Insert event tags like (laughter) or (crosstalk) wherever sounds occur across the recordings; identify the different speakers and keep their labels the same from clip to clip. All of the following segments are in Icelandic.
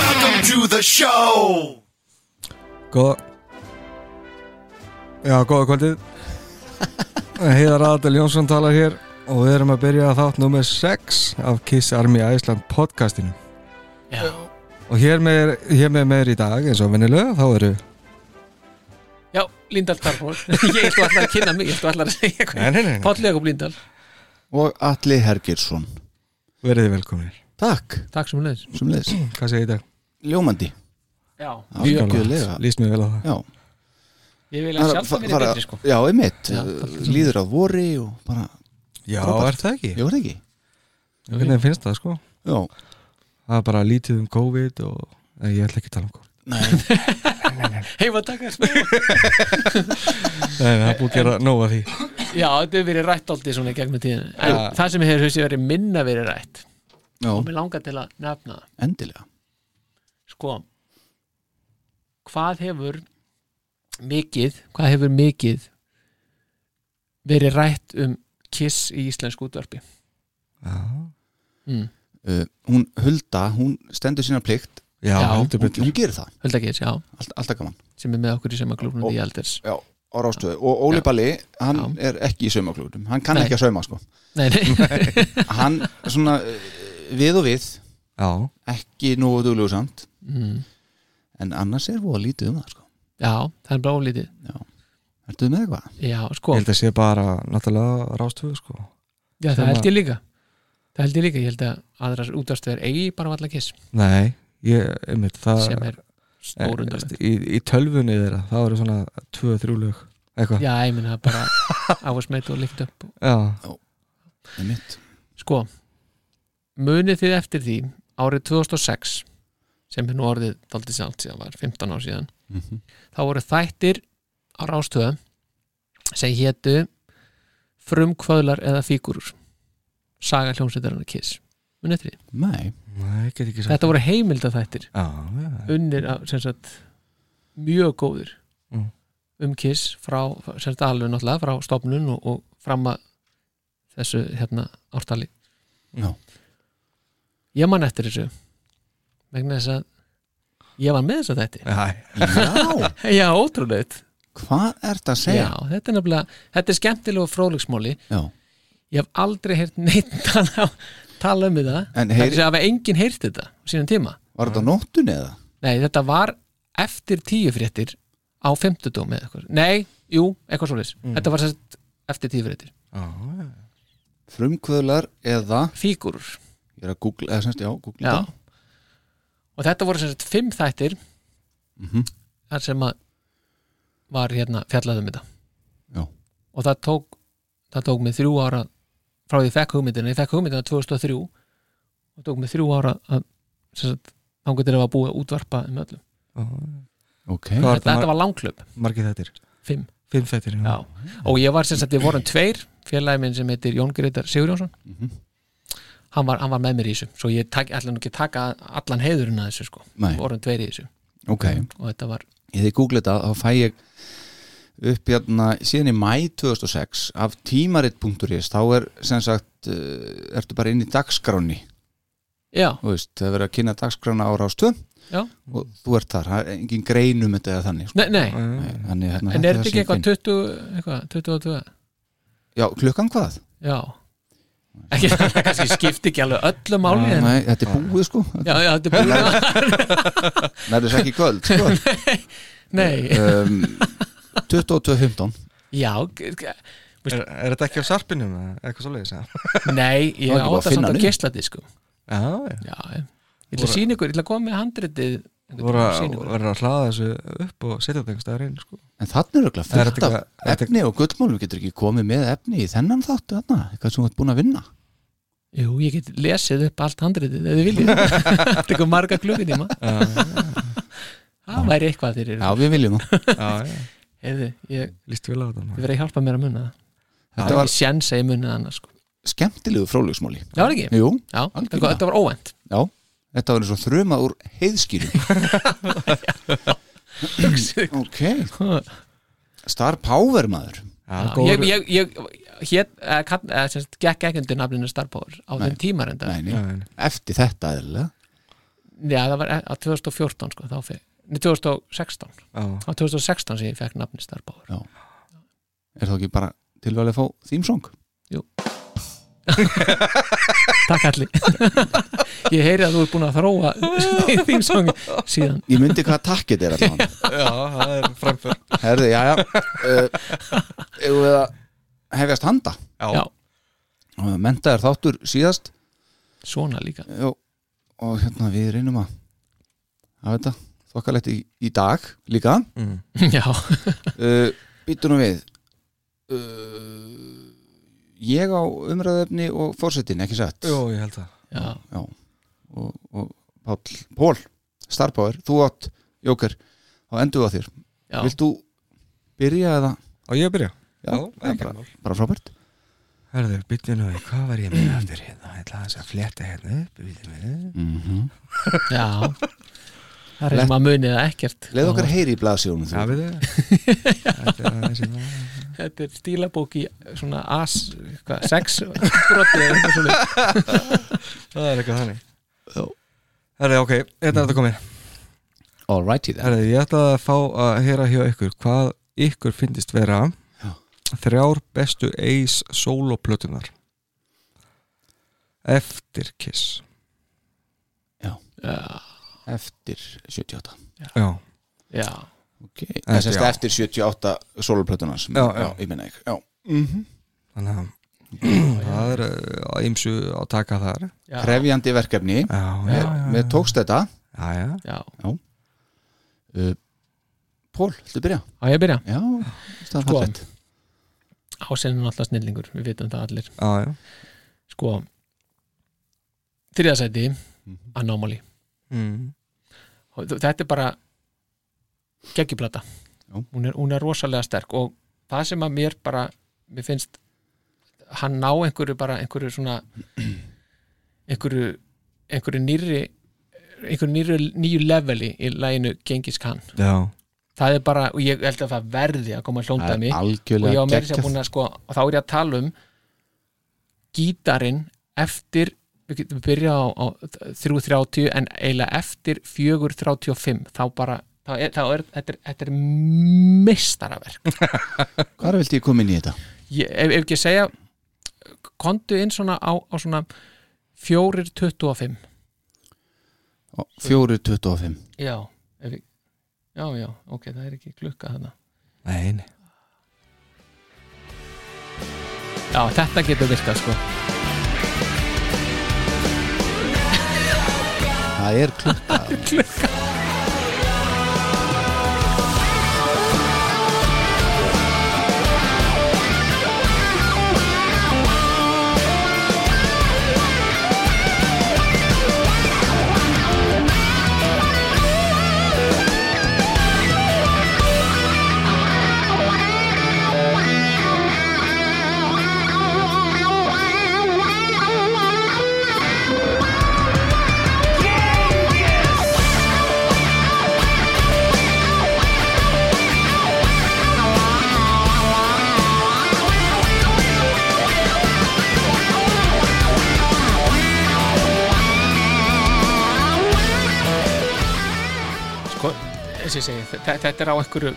Speaker 1: Welcome to the show.
Speaker 2: Góða Já, góða (laughs) kvöldið Heiðar Adel Jónsson talar hér og við erum að byrja að þátt nummer 6 af Kiss Army Æsland podcastinu
Speaker 3: Já,
Speaker 2: og hér með, hér með meður í dag eins og vennilega þá eru
Speaker 3: já Lindal Tarfól (laughs) Ég ætla allar að kynna mig, ég ætla allar að segja
Speaker 2: Nei, nei, nei, nei.
Speaker 3: Páll Jakob Lindal,
Speaker 1: Og Alli Hergjersson.
Speaker 2: veriði velkominir
Speaker 1: Takk,
Speaker 3: takk sem hún leður
Speaker 1: sem leðis.
Speaker 2: Hvað segir í dag?
Speaker 1: Ljómandi.
Speaker 3: Já,
Speaker 1: Algjörlega.
Speaker 2: Lýst mér vel á það
Speaker 1: Já.
Speaker 3: ég vil að sjálf það mér betri sko
Speaker 1: Já, einmitt. Eh,
Speaker 3: Já, takk.
Speaker 1: Líður á vori og bara,
Speaker 2: Já,
Speaker 1: Frábært.
Speaker 2: er það ekki?
Speaker 1: ég voru ekki.
Speaker 2: Hvernig finnst það sko?
Speaker 1: Já.
Speaker 2: Það er bara lítið um COVID og Nei, ég ætla ekki að tala um COVID
Speaker 1: Nei,
Speaker 3: Heifa takkar Já,
Speaker 2: Nei, nei, það er búið að gera nóg af því
Speaker 3: þetta hefur verið rætt aldrei svona í gegnum tíðin En
Speaker 2: Já.
Speaker 3: það sem hefur þessi verið minna verið rætt
Speaker 1: já,
Speaker 3: og mér langar til að nefna það.
Speaker 1: endilega.
Speaker 3: sko hvað hefur mikið hvað hefur mikið verið rætt um kiss í íslensku útvarpi
Speaker 2: Já,
Speaker 3: mm.
Speaker 1: Uh, hún Hulda, hún stendur sína plikt.
Speaker 2: já,
Speaker 3: Já.
Speaker 2: heldur
Speaker 1: Hún,
Speaker 2: betur
Speaker 1: hún gerir það.
Speaker 3: hölda kiss, já,
Speaker 1: Allt, alltaf gaman.
Speaker 3: sem er með okkur í semaglúknum
Speaker 1: Og-
Speaker 3: í Alders
Speaker 1: Já, á rástöðu. Og Óli
Speaker 3: Já.
Speaker 1: Balli, hann
Speaker 3: Já.
Speaker 1: er ekki í saumaklugurum. Hann kann
Speaker 3: Nei.
Speaker 1: ekki að sauma, sko.
Speaker 3: Nei, nei, (laughs)
Speaker 1: Hann, svona, uh, við og við,
Speaker 2: Já,
Speaker 1: ekki nógu duglegu samt.
Speaker 3: mm.
Speaker 1: En annars er voða lítið um það, sko.
Speaker 3: já, það er bara ólítið
Speaker 1: Ertu með eitthvað?
Speaker 3: Já,
Speaker 2: ég
Speaker 3: sko,
Speaker 2: held að sé bara náttúrulega rástuðu sko
Speaker 3: já, það
Speaker 2: sem
Speaker 3: held ég líka Það held ég líka, ég held að aðrar útvarstuðar eigi bara valla kiss
Speaker 2: Nei, ég, einmitt, það Eh,
Speaker 3: sem er stórundarlegt
Speaker 2: í, í tölvunni þeirra það eru svona 2-3 lög eitthvað,
Speaker 3: Já, ég meina bara á að smeta og lift upp
Speaker 2: já,
Speaker 1: Það er mitt.
Speaker 3: Sko, munið þið eftir því árið 2006 sem er nú orðið daldið sjálft síðan var 15 ár síðan þá voru þættir á rástöðu sem hétu frumkvöðlar eða fígurur saga hljómsveitarinnar kiss munið eftir því
Speaker 1: Nei,
Speaker 2: Nei, get ekki sagt
Speaker 3: Þetta voru heimildaþættir
Speaker 2: já, já,
Speaker 3: unnir af, sem sagt, mjög góðir
Speaker 2: Mm.
Speaker 3: um Kiss frá, sem sagt, alveg náttúrulega frá stofnun og, og fram að þessu hérna ártali
Speaker 1: Já.
Speaker 3: Ég man eftir þessu vegna þess að ég var með þess að þetta
Speaker 2: já,
Speaker 1: já,
Speaker 3: (laughs) Já, ótrúlegt
Speaker 1: hvað ert að
Speaker 3: Já,
Speaker 1: segja?
Speaker 3: þetta er nefnilega, þetta er skemmtilega og fróðleiksmáli
Speaker 1: Já,
Speaker 3: Ég hef aldrei heyrt neitt (laughs) tala, tala um þetta
Speaker 1: En
Speaker 3: Það er
Speaker 1: heyri-
Speaker 3: þess að hafa enginn heyrt þetta á sínum tíma
Speaker 1: var þetta á nóttunni eða?
Speaker 3: Nei, þetta var eftir tíu fréttir á fimmtudóm eða eitthvað. Nei, jú, eitthvað svoleiðis. Þetta var sérst eftir tíu fréttir.
Speaker 2: já, já.
Speaker 1: Frumkvöðlar eða,
Speaker 3: Fígurur.
Speaker 1: ég er að googla, eða semst, já, googla
Speaker 3: Já.
Speaker 1: þetta.
Speaker 3: Og þetta voru sérst fimm þættir þar sem að var hérna fjallað um þetta.
Speaker 1: Já.
Speaker 3: Og það tók, það tók mig þrjú ára frá því ég fekk hugmyndina. Ég fekk hugmyndina 2003 og tók mig þrjú ára að sérst þangur til að var búið að útvarpa um öllum.
Speaker 2: já.
Speaker 1: Ok,
Speaker 2: Hvað var
Speaker 3: Þetta,
Speaker 2: þetta
Speaker 3: þetta
Speaker 2: mar
Speaker 3: var langklöp.
Speaker 2: margir þettir?
Speaker 3: Fimm.
Speaker 2: 5 þettir, já,
Speaker 3: Já. og ég var sem sagt, við vorum tveir félagi minn sem heitir Jón Greitar Sigurjónsson
Speaker 1: Mhm.
Speaker 3: hann, var, hann var með mér í þessu svo ég tak, ætla nú ekki að taka allan heiðurinn að þessu sko,
Speaker 1: Nei.
Speaker 3: við vorum tveir í þessu
Speaker 1: ok.
Speaker 3: og þetta var,
Speaker 1: Ég þið googla þetta, þá fæ ég upp hérna síðan í mæ 2006 af tímarit.is, þá er sem sagt, uh, ertu bara inn í dagskráni,
Speaker 3: já,
Speaker 1: þú veist, það er verið að kynna dagskrána á rástu
Speaker 3: Já.
Speaker 1: og þú ert þar, það er engin greinum þetta eða þannig, sko.
Speaker 3: nei, nei
Speaker 2: já.
Speaker 1: Nei, Þannig, hérna,
Speaker 3: Mm. en
Speaker 1: þetta
Speaker 3: er þetta
Speaker 1: sem
Speaker 3: ekki
Speaker 1: ég finn.
Speaker 3: eitthvað 20, eitthvað, 22
Speaker 1: Já, klukkan hvað?
Speaker 3: já ekki, það kannski skipti ekki alveg öllu máli en,
Speaker 1: Nei, þetta er búið sko
Speaker 3: já, já, þetta er búið
Speaker 1: Nærðu þess ekki í kvöld sko.
Speaker 3: nei,
Speaker 1: um, 22.15
Speaker 3: já, g- g-
Speaker 2: Er, er þetta ekki á sarpinum eða eitthvað svo leiðis? Já,
Speaker 3: Nei, ég
Speaker 1: Það er ekki
Speaker 3: á
Speaker 1: bara að finna
Speaker 3: það samt á
Speaker 1: hann inn.
Speaker 3: geisladisku
Speaker 2: já.
Speaker 3: Já, ég Ég ætla að sína ykkur, ég ætla að koma með handritið einhvern
Speaker 2: Voru
Speaker 3: tímann og
Speaker 2: að,
Speaker 3: sýna ykkur.
Speaker 2: voru að hlaða þessu upp og setja þetta einhvers staðar inn,
Speaker 3: (laughs)
Speaker 2: sko.
Speaker 1: En þannig er auðvitað
Speaker 2: Það er
Speaker 1: fullt af
Speaker 2: þetta eitthvað- þetta-
Speaker 1: efni og gullmálum getur ekki komið með efni í þennan þáttu þarna, eitthvað sem þú ert búin að vinna
Speaker 3: Jú, ég get lesið upp allt handritið ef þið viljið, (laughs) þetta er marga klukkutíma Það væri eitthvað þeir
Speaker 1: Já,
Speaker 3: eru
Speaker 1: við viljum það
Speaker 2: Já, já.
Speaker 3: Heiði, ég,
Speaker 2: Lýst vel á þetta.
Speaker 3: ég
Speaker 2: maður.
Speaker 3: verið að hjálpa mér að munna það Það
Speaker 1: Þetta
Speaker 3: er
Speaker 1: var
Speaker 3: ekki sjens að ég munna það annars sko.
Speaker 1: skemmtilegu frólugsmáli
Speaker 3: Já, er ekki?
Speaker 1: Jú,
Speaker 3: Já, þetta
Speaker 1: Algjörlega.
Speaker 3: var- þetta var
Speaker 1: (clears throat)
Speaker 3: óvænt
Speaker 1: já, þetta var eins og þruma úr heiðskýrum Ok, (laughs) star power maður
Speaker 2: Já,
Speaker 3: Já,
Speaker 2: góður-
Speaker 3: Ég, ég, ég, hét, eh, kall, eh, sem sagt, gekk ekki undir nafninu Star Power á
Speaker 1: Nei.
Speaker 3: þeim tíma reynda
Speaker 1: Nei,
Speaker 2: Já,
Speaker 1: nei,
Speaker 2: en-
Speaker 1: eftir þetta eðlilega
Speaker 3: Já, það var eh, á 2014 sko, þá fekk Nei, 2016
Speaker 2: já.
Speaker 3: á 2016 sem ég fekk nafni Star Power
Speaker 1: Er þá ekki bara tilvægilega að fá þýmsong?
Speaker 3: Takk allir (laughs) Ég heyri að þú ert búin að þróa (laughs) þín song síðan
Speaker 1: Ég myndi hvað takkið er allan
Speaker 2: já, það er framför.
Speaker 3: (laughs)
Speaker 1: Herði, já, já uh, Eða við að hefjast handa
Speaker 3: Já,
Speaker 1: og mentaðar þáttur síðast
Speaker 3: svona líka (laughs)
Speaker 1: Jó, og hérna við reynum að að þetta þokkalegt í, í dag líka
Speaker 2: Mm.
Speaker 3: Já,
Speaker 1: uh, býtum nú við uh, ég á umræðefni og fórsetin, ekki satt
Speaker 2: Jó, ég held það.
Speaker 3: já,
Speaker 1: og, og Páll, Pól Starpower, þú átt Jóker þá endur við á þér,
Speaker 3: já.
Speaker 1: vilt þú byrja eða,
Speaker 2: Og ég að byrja?
Speaker 1: Já,
Speaker 2: það er
Speaker 1: bara-
Speaker 2: bara.
Speaker 1: bara frábært
Speaker 2: Herðu, byttu nú, við, hvað var ég með aftur hérna? Ég ætla þess að fletta hérna upp, byttu nú.
Speaker 1: mm -hmm.
Speaker 3: já Það er sem að muni það ekkert
Speaker 1: leð okkar heyri í blaðsjónum
Speaker 2: Já,
Speaker 1: þú,
Speaker 2: við þau. Þetta er aðeins í maður.
Speaker 3: Þetta er stílabók í svona as hvað, sex broti eða eitthvað svoleiðis.
Speaker 2: Það er eitthvað þannig.
Speaker 1: Já.
Speaker 2: Herðu, ok, hérna er þetta komið.
Speaker 1: alrighty then
Speaker 2: Herri, ég ætla að fá að heyra hjá ykkur hvað ykkur finnist vera
Speaker 1: Já.
Speaker 2: þrjár bestu Ace soloplötunar eftir Kiss
Speaker 3: Já,
Speaker 1: eftir 78
Speaker 2: Já,
Speaker 3: já,
Speaker 1: ok, það sést
Speaker 2: já.
Speaker 1: eftir 78 soloplötunars
Speaker 2: Já, já.
Speaker 1: ég minna ekki, já Mhm.
Speaker 2: þannig að það er uh, á ymsu að taka þar Já,
Speaker 3: já,
Speaker 1: krefjandi verkefni
Speaker 2: já, já,
Speaker 1: mér, mér tókst þetta
Speaker 2: já, já.
Speaker 3: já.
Speaker 1: uh, Pól, viltu byrja?
Speaker 3: Á ég að byrja?
Speaker 1: Já, það er
Speaker 3: Sko.
Speaker 1: fallegt
Speaker 3: Ásinn er alltaf snillingur, við vitum það allir
Speaker 2: já, já.
Speaker 3: Sko Þriðasæti, Anomaly
Speaker 2: Mm.
Speaker 3: Og þ- þetta er bara geggjuplata
Speaker 1: Já.
Speaker 3: hún er, hún er rosalega sterk og það sem að mér bara mér finnst hann ná einhverju bara einhverju svona einhverju, einhverju nýri einhverju nýri, nýju leveli í læginu Genghis Khan
Speaker 2: já.
Speaker 3: það er bara, og ég held að það verði að koma að
Speaker 1: Það
Speaker 3: hlónda
Speaker 1: er
Speaker 3: mig og ég
Speaker 1: algjörlega
Speaker 3: á meira sér
Speaker 1: geggjað.
Speaker 3: búin að sko og þá er ég að tala um gítarinn eftir við getum byrjað á, á 3.30 en eiginlega eftir 4.35 þá bara þá er, þá er, þetta, er, þetta er meistaraverk
Speaker 1: Hvar viltu ég koma inn í þetta?
Speaker 3: ég, ef, ef ekki að segja kontu inn svona á, á svona 4.25
Speaker 1: Ó, 4.25
Speaker 3: já, ef, ég- já, já, ok það er ekki klukka þarna
Speaker 2: Nei, nei
Speaker 3: já, þetta getur virkað sko
Speaker 1: Það er klukka
Speaker 3: sko, eins og ég segi, þe- þe- þetta er á einhverju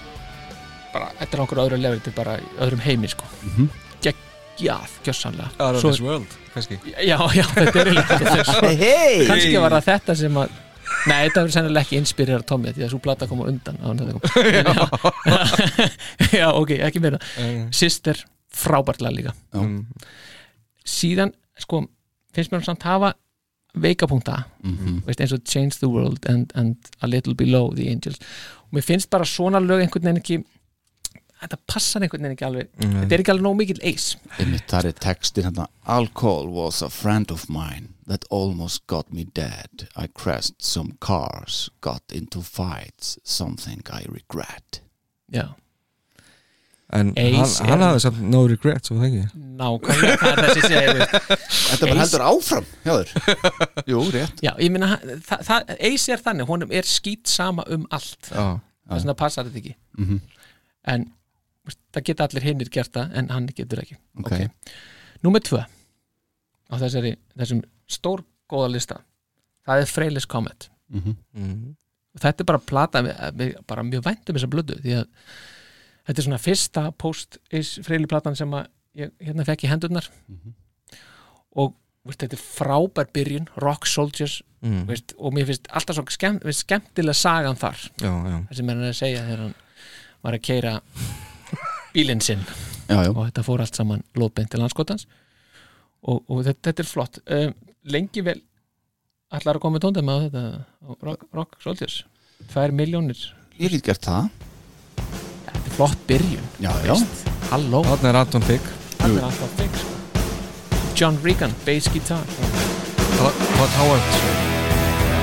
Speaker 3: bara, þetta er á einhverju öðru lefri þetta er bara í öðrum heimi, sko mm -hmm. geggjað, gjörsanlega
Speaker 2: Out of this world, kannski
Speaker 3: já, já, þetta er líka
Speaker 1: Hei,
Speaker 3: þess sko. kannski var það þetta sem að nei, þetta verður sennilega ekki inspirera Tommy því að svo plata koma undan á, já. (laughs) já, ok, ekki meira
Speaker 2: Nei, nei.
Speaker 3: Sister, frábærtlega líka
Speaker 1: Já.
Speaker 2: Eh, Mm.
Speaker 3: síðan, sko, finnst mér samt hafa veikapunkta
Speaker 1: Mhm.
Speaker 3: veist, eins og Change the World and, and A Little Below the Angels og mér finnst bara svona lög einhvern veginn ekki þetta passar einhvern veginn ekki alveg
Speaker 2: Nei.
Speaker 3: þetta er ekki alveg nóg mikill eis
Speaker 1: einmitt þar er textin hérna Alcohol was a friend of mine that almost got me dead I crashed some cars got into fights something I regret
Speaker 3: já,
Speaker 2: En
Speaker 3: Ace
Speaker 2: hann, hann
Speaker 3: er-
Speaker 2: hafði samt no regrets og það ekki
Speaker 3: nákvæmlega það er þessi segja, veist.
Speaker 1: Þetta bara
Speaker 3: Ace-
Speaker 1: heldur áfram hjá
Speaker 2: (laughs)
Speaker 1: þér Jú, rétt
Speaker 3: já, ég meina, það, það, eis er þannig honum er skýt sama um allt
Speaker 2: Já,
Speaker 3: þess vegna passar þetta ekki
Speaker 1: Mhm.
Speaker 3: en veist, það geta allir hinnir gert það en hann getur ekki
Speaker 1: Ok.
Speaker 3: Númer tvö á þessari, þessum stór góða lista það er Freylis Comet
Speaker 1: Mhm.
Speaker 2: mm.
Speaker 3: og þetta er bara plata við, við bara mjög væntum þessa blödu því að þetta er svona fyrsta post Freyli platan sem að ég hérna fekk í hendurnar og veist, þetta er frábær byrjun Rock Soldiers
Speaker 2: Mm.
Speaker 3: veist, og mér finnst alltaf svo skemm, veist, skemmtilega sagan þar
Speaker 2: já, já
Speaker 3: það sem er hann er að segja þegar hann var að keira bílinn sinn
Speaker 1: Já, já,
Speaker 3: og þetta fór allt saman lóðbeint til landskotans og, og þetta, þetta er flott um, lengi vel allar að koma með tóndæmi á þetta á Rock, rock Soldiers 2 miljónir,
Speaker 1: ég get gert það
Speaker 3: þetta er flott byrjun
Speaker 1: Já, já,
Speaker 3: halló,
Speaker 2: Þannig er Anton Figg
Speaker 3: hann er alltaf fink sko. John Regan, bass guitar
Speaker 2: Todd Howard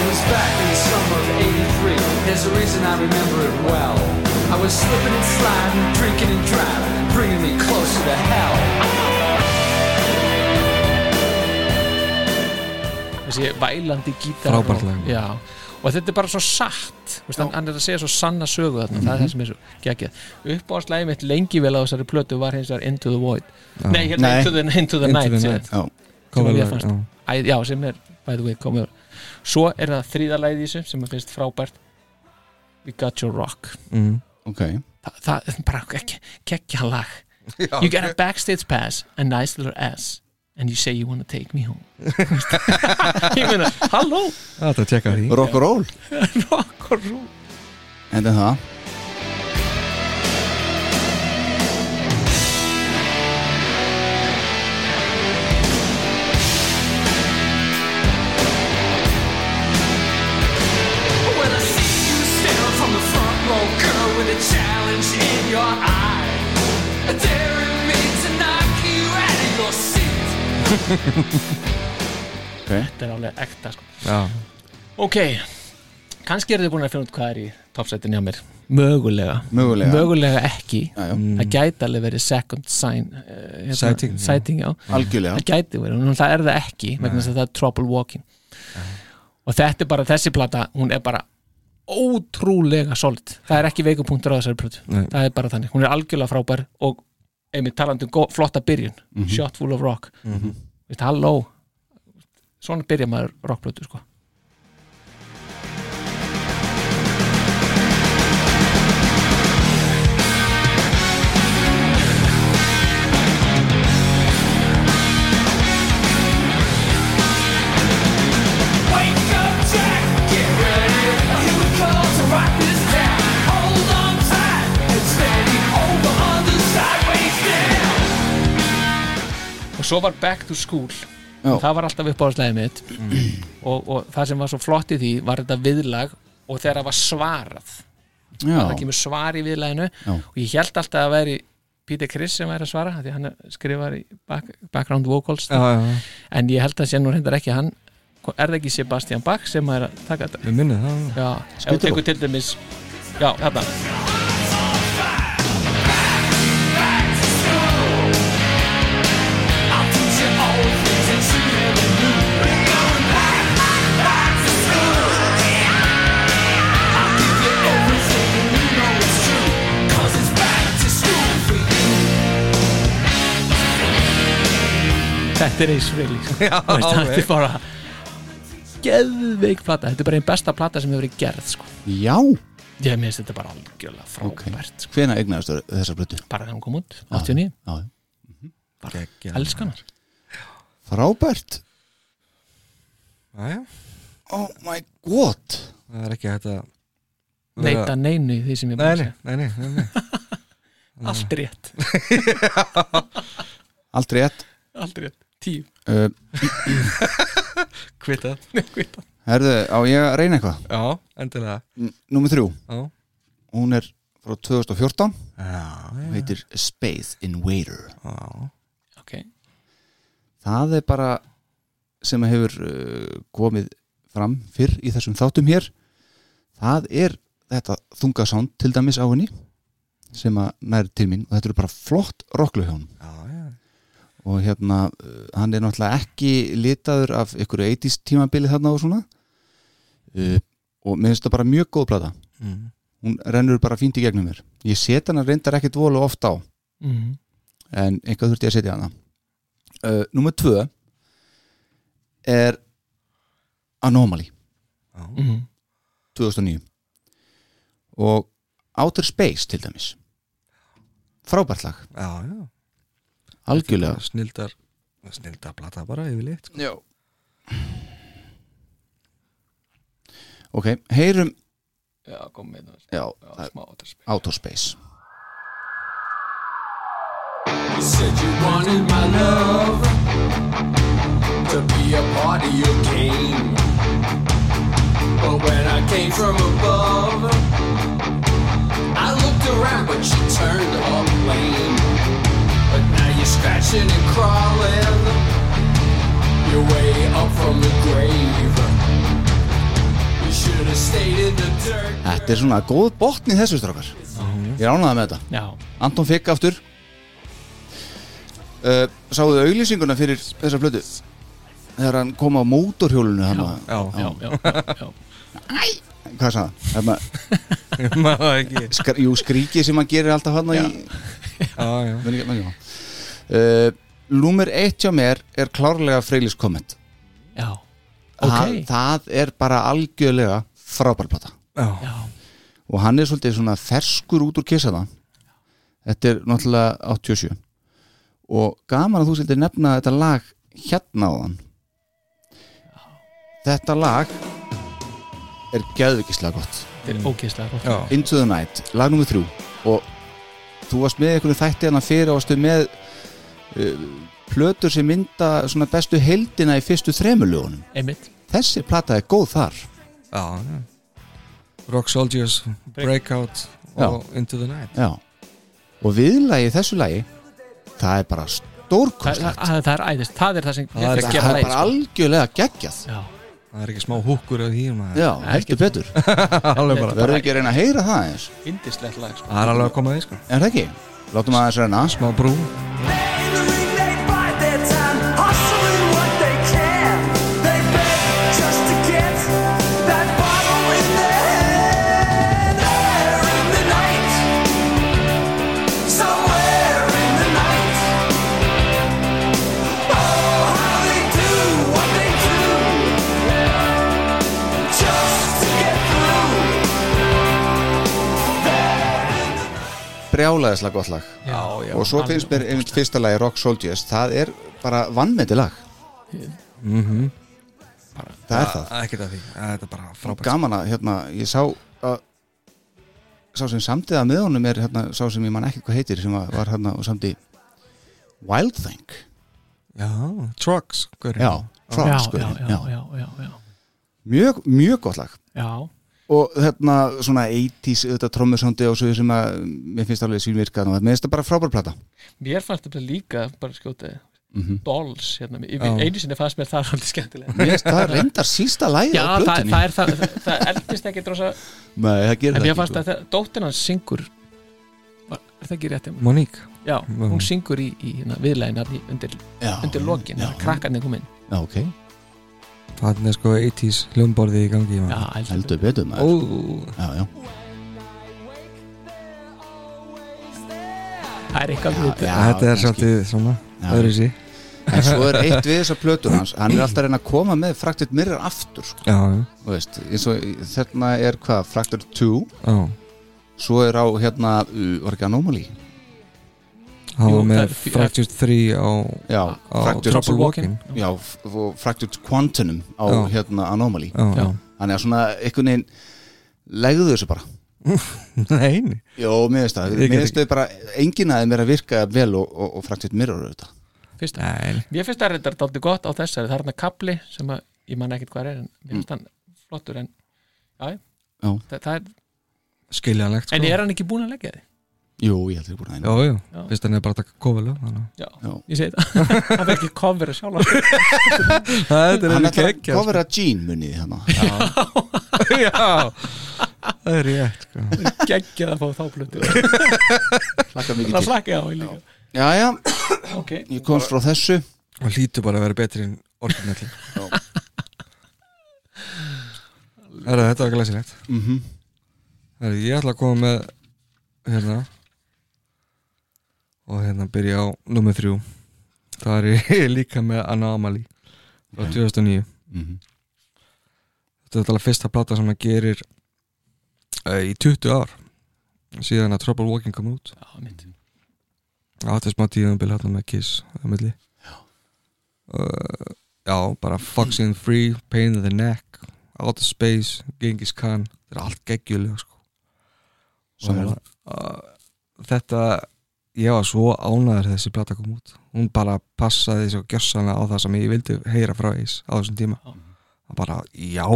Speaker 4: It was back in the summer of 83. There's a reason I remember it well. I was slipping and sliding, drinking and driving, bringing me closer to hell.
Speaker 3: þessi vælandi gítar
Speaker 2: Frábært lag.
Speaker 3: og, já, og þetta er bara svo satt veist, hann, hann er að segja svo sanna sögu þarna það
Speaker 2: Mhm.
Speaker 3: er það sem er svo geggjað uppáðslæði mitt lengi vel á þessari plötu var hins vegar Into the Void nei, hérna
Speaker 1: Nei.
Speaker 3: Into the, into the
Speaker 2: Into
Speaker 3: Night,
Speaker 2: the
Speaker 3: sé.
Speaker 2: Night.
Speaker 1: já
Speaker 3: Sem að
Speaker 2: Komið lag,
Speaker 3: mér fannst.
Speaker 2: já.
Speaker 3: Æ, já, sem er by the way, komið úr. svo er það þrýðalæði í þessu sem að finnst frábært We Got Your Rock
Speaker 2: Mm.
Speaker 1: Ok,
Speaker 3: Þa, það er bara ekki, kekkja
Speaker 2: (laughs)
Speaker 3: lag You get a backstage pass, a nice little ass and you say you wanna take me
Speaker 2: (laughs)
Speaker 3: home ég meina, halló
Speaker 2: Þetta tjekka því
Speaker 1: rock and roll
Speaker 3: rock og roll
Speaker 1: En það,
Speaker 4: When I see you staring from the front row, girl, with a challenge in your eye, daring me to knock you out of your seat.
Speaker 3: þetta er alveg ekta sko.
Speaker 2: Já,
Speaker 3: ok, kannski eru þið búin að finna út hvað er í topsættin hjá mér mögulega,
Speaker 1: mögulega
Speaker 3: mögulega ekki
Speaker 1: Já, já,
Speaker 3: það gæti alveg verið second sign uh, hérna,
Speaker 2: Mm. Sighting, já.
Speaker 3: sighting já.
Speaker 1: algjörlega
Speaker 3: það gæti verið, en það er það ekki vegna þess að það er trouble walking og þetta er bara, þessi plata, hún er bara ótrúlega solid það er ekki veikupunktur á þessari plötu
Speaker 2: Nei.
Speaker 3: það er bara þannig, hún er algjörlega frábær og einmitt talandi um gó- flotta byrjun shot full of rock mm -hmm. halló, svona byrja maður rockplötu sko
Speaker 5: Wake up, Jack. Get ready. Here we come to rock this town. Hold on tight. It's standing over on the sideways down.
Speaker 3: og svo var Back to School
Speaker 1: Já.
Speaker 3: það var alltaf upp á slæðið mitt og, og það sem var svo flott í því var þetta viðlag og þegar það var svarað það
Speaker 1: Já,
Speaker 3: kemur svar í viðlæðinu
Speaker 1: Já.
Speaker 3: og ég held alltaf að það væri Peter Criss sem væri að svara af því að hann skrifar í back, background vocals
Speaker 2: já, já, já.
Speaker 3: en ég held að sé nú reyndar ekki hann er það ekki Sebastian Bach sem er að taka þetta
Speaker 2: við minnið það
Speaker 3: já, ef þú tekur til dæmis já, þarna
Speaker 5: Back to school. I'll teach you all the things that you never knew. We're going back, back to school. I'll give you everything you know is true. 'Cause it's back to school for you.
Speaker 3: þetta er eins
Speaker 2: (laughs)
Speaker 3: Frehley þetta er bara geðveik plata, þetta er bara einn besta plata sem hefur verið gerð sko.
Speaker 1: já,
Speaker 3: ég minnst þetta bara algjörlega frábært sko.
Speaker 1: Hvena eignaðist þessar blötu?
Speaker 3: bara þegar hún kom út, 89,
Speaker 1: Já, já.
Speaker 3: elskanar
Speaker 1: Frábært
Speaker 2: Æja,
Speaker 1: Oh my god
Speaker 2: það er ekki hægt að
Speaker 3: neita neinu í því sem ég
Speaker 2: Nei,
Speaker 3: búið
Speaker 2: nei, nei, nei, nei, (laughs) nei.
Speaker 3: segja allt rétt,
Speaker 1: Aldrei ett
Speaker 3: allt rétt, tíu
Speaker 1: uh,
Speaker 2: Kvita
Speaker 1: Herðu, á ég að reyna eitthvað
Speaker 2: Já, endilega
Speaker 1: N- Númer þrjú
Speaker 2: Já.
Speaker 1: Hún er frá 2014
Speaker 2: Já,
Speaker 1: og heitir Space Invader
Speaker 2: já
Speaker 3: ok,
Speaker 1: það er bara sem hefur uh, komið fram fyrr í þessum þáttum hér það er þetta þungasánd til dæmis á henni sem að næri til mín og þetta eru bara flott rockluhjón
Speaker 2: Já, já,
Speaker 1: og hérna uh, hann er náttúrulega ekki litaður af ykkur 80s tímabili þarna og svona uh, og mér finnst það bara mjög góð plata
Speaker 2: mm.
Speaker 1: hún rennur bara fínt í gegnum mér ég set hana reyndar ekkit volu oft á
Speaker 3: mm.
Speaker 1: en einhvað þurfti ég að setja hana uh, Númer tvö er Anomaly
Speaker 3: Mm.
Speaker 1: 2009 og Outer Space til dæmis frábært lag,
Speaker 2: já, já.
Speaker 1: algjörlega
Speaker 2: Snildar Snildar plata bara yfirleitt sko.
Speaker 1: Já Ok, heyrum
Speaker 3: já, kom með það
Speaker 1: já,
Speaker 3: já, smá átarsp
Speaker 1: Outer Space
Speaker 4: You said you wanted my love to be a part of your game. But when I came from above, I looked around, but you turned up lame. But now you're scratching and crawling your way up from the grave. You should have stayed in the dirt.
Speaker 1: Þetta er svona góð botn í þessu strákar Ég er ánægða með þetta
Speaker 3: já,
Speaker 1: Anton Fikk aftur uh, Sáðu auglýsinguna fyrir þessa plötu Þegar hann kom á mótorhjólinu hann að-
Speaker 2: Já, (laughs)
Speaker 3: já, já, já, já.
Speaker 1: Hvað sagði hann? Hérna,
Speaker 2: ég maður það ekki
Speaker 1: skr, jú, skríki sem hann gerir alltaf hann í
Speaker 2: Já, já,
Speaker 1: Men ekki- men ekki, uh, Númer eitt hjá mér er klárlega Freylis komment
Speaker 3: (laughs) já. ok,
Speaker 1: það, það er bara algjörlega frábærplata
Speaker 2: já,
Speaker 3: já
Speaker 1: Og hann er svolítið svona ferskur út úr kissaða Þetta er náttúrulega 87 Og gaman að þú sildir nefna þetta lag hérna á hann Þetta lag er geðvikislega gott
Speaker 3: þetta er ógeðslega gott.
Speaker 2: já.
Speaker 1: Into the Night, lag nummer þrjú og þú varst með einhvern þætti hann að fyrir og varstu með uh, plötur sem mynda svona bestu heldina í fyrstu þremulögunum
Speaker 3: einmitt,
Speaker 1: þessi plata er góð þar
Speaker 2: já, já. Rock Soldiers, Breakout og Into the Night
Speaker 1: Já. og viðlagi í þessu lagi það er bara
Speaker 3: það, það,
Speaker 1: stórkostlegt það,
Speaker 3: það, það er sko. æðist það er það sem
Speaker 2: Það er-
Speaker 3: að
Speaker 1: er
Speaker 3: gera
Speaker 1: bara
Speaker 3: leið
Speaker 1: algjörlega geggjað
Speaker 3: já,
Speaker 2: Það er ekki smá húkkur af því maður.
Speaker 1: Já, heldur betur
Speaker 2: Alveg bara
Speaker 1: Verður ekki að reyna að heyra það eins
Speaker 3: indislegt lag sko.
Speaker 2: Það er alveg að koma að því sko
Speaker 1: En það ekki, látum aðeins reyna
Speaker 2: Smá brú
Speaker 6: They bide their time, hustling what they can. They beg just to get that bottle in their hand. There in the night, somewhere in the night. Oh, how they do what they do, just to get through.
Speaker 1: Brjálaðislega gott lag
Speaker 3: já, já,
Speaker 1: Og svo
Speaker 3: alveg
Speaker 1: finnst mér einmitt fyrsta lagi Rock Soldiers Það er bara vannmeti lag Það er það
Speaker 2: Ekkert af því, þetta er bara frábært
Speaker 1: gaman að hérna, ég sá að sá sem samtiða með honum er hérna, sá sem ég man ekki hvað heitir sem að var hérna og samti Wild Thing
Speaker 2: Já, Trucks gaurinn.
Speaker 1: já,
Speaker 3: já,
Speaker 1: Frogs,
Speaker 3: já,
Speaker 1: já,
Speaker 3: já, já, já, já,
Speaker 1: Mjög, mjög gott lag
Speaker 3: já.
Speaker 1: og hérna svona 80s auðvitað trommusondi og svo sem að mér finnst alveg sínvirkað og mér finnst það bara frábær plata
Speaker 3: mér fannst þetta líka bara skjóta
Speaker 1: mm
Speaker 3: dolls hérna, mér-
Speaker 2: Já.
Speaker 3: einu sinni fannst mér það svolítið skemmtilega
Speaker 1: Mér finnst það reyndar sísta lagið
Speaker 3: já,
Speaker 1: á
Speaker 3: það,
Speaker 1: plötunni
Speaker 3: það er það, það, það eldist ekki drosa,
Speaker 1: Nei, það gerir
Speaker 3: en
Speaker 1: það
Speaker 3: mér
Speaker 1: ekki
Speaker 3: fannst
Speaker 1: sko.
Speaker 3: að það- dóttin hans syngur var- er það ekki rétt hjá mér?
Speaker 2: Monique
Speaker 3: já, hún
Speaker 2: Mhm.
Speaker 3: syngur í, í hérna, viðlæðinar undir,
Speaker 1: Já,
Speaker 3: undir lokin,
Speaker 1: já,
Speaker 3: þegar krakkarnir kom inn
Speaker 1: já, ok,
Speaker 2: Þannig er sko 80s hljómborði í gangi
Speaker 3: já,
Speaker 2: maður.
Speaker 3: eldur.
Speaker 1: heldur betur
Speaker 2: Ó,
Speaker 1: maður Já, já,
Speaker 3: það er eitthvað við þetta.
Speaker 1: já,
Speaker 2: Þetta er
Speaker 1: kannski.
Speaker 2: svolítið svona
Speaker 1: Já.
Speaker 2: öðru sí
Speaker 1: En svo er eitt við þessar plötur hans Hann er alltaf að reyna að koma með Fractured Mirror aftur sko.
Speaker 2: Já, já,
Speaker 1: Þú veist, eins og þarna er hvað Fractured 2
Speaker 2: já
Speaker 1: svo er á hérna, uh, var ekki Anomaly
Speaker 2: hann
Speaker 3: Jú,
Speaker 2: var
Speaker 3: það
Speaker 2: með
Speaker 3: er því-
Speaker 2: Fractured 3 á,
Speaker 1: já,
Speaker 2: á
Speaker 1: Fractured,
Speaker 2: Trouble Walking
Speaker 1: já, f- og Fractured Quantum á
Speaker 2: Já.
Speaker 1: hérna Anomaly
Speaker 2: já, já. (laughs)
Speaker 1: þannig að svona einhvern veginn legðu þessu bara
Speaker 2: Nei,
Speaker 1: Jó, mér veist það,
Speaker 2: Ég get
Speaker 1: mér veist þau bara enginn aðeins mér að virka vel og, og, og fraktið mirror auðvitað
Speaker 3: fyrst
Speaker 2: nei
Speaker 3: Mér finnst það reyndar dálítið gott á þessari það er hann að kapli sem að ég man ekkit hvað er en mér finnst hann flottur en já,
Speaker 1: Já.
Speaker 3: það, það er,
Speaker 2: skiljanlegt sko.
Speaker 3: en er hann ekki búin að leggja þið
Speaker 1: Jú, ég held ég búin að einu
Speaker 2: Jú, jú,
Speaker 3: Já.
Speaker 2: fyrst hann er bara að taka kofilu Þetta
Speaker 3: já,
Speaker 1: Já.
Speaker 3: ég segi það hann fekk ekki cover að sjálf
Speaker 2: er
Speaker 1: (laughs)
Speaker 2: sko.
Speaker 1: Hann
Speaker 2: ekki
Speaker 1: ætlar að
Speaker 2: ekki
Speaker 1: kofra Gene munið hérna
Speaker 2: Já, það er rétt sko.
Speaker 3: geggjað að fá þá plötu
Speaker 1: Laka mikið
Speaker 3: það
Speaker 1: til
Speaker 3: slakið á ég líka
Speaker 1: Já, já,
Speaker 3: ok,
Speaker 1: ég komst frá þessu
Speaker 2: Og hlýtur bara að vera betri en orginalli Herra, þetta var glæsilegt
Speaker 1: mm
Speaker 2: Herra, ég ætla að koma með hérna og hérna byrja á nummer þrjú Það er ég (laughs) líka með Anomaly frá 2009 Mhm.
Speaker 1: -hmm.
Speaker 2: þetta er alveg fyrsta plata sem hann gerir uh, í 20 ár síðan að Trouble Walking kom út
Speaker 3: já, mitt
Speaker 2: Já, þetta er smá tíðanbíl hérna með Kiss á milli uh, Já, bara Foxing Free, Pain in the Neck Outer Space, Genghis Khan þetta er allt geggjulega sko.
Speaker 1: Sammála.
Speaker 2: uh, Þetta ég var svo ánæður þessi plata kom út hún bara passaði svo gjössanlega á það sem ég vildi heyra frá Ace á þessum tíma
Speaker 3: Já.
Speaker 2: og bara, já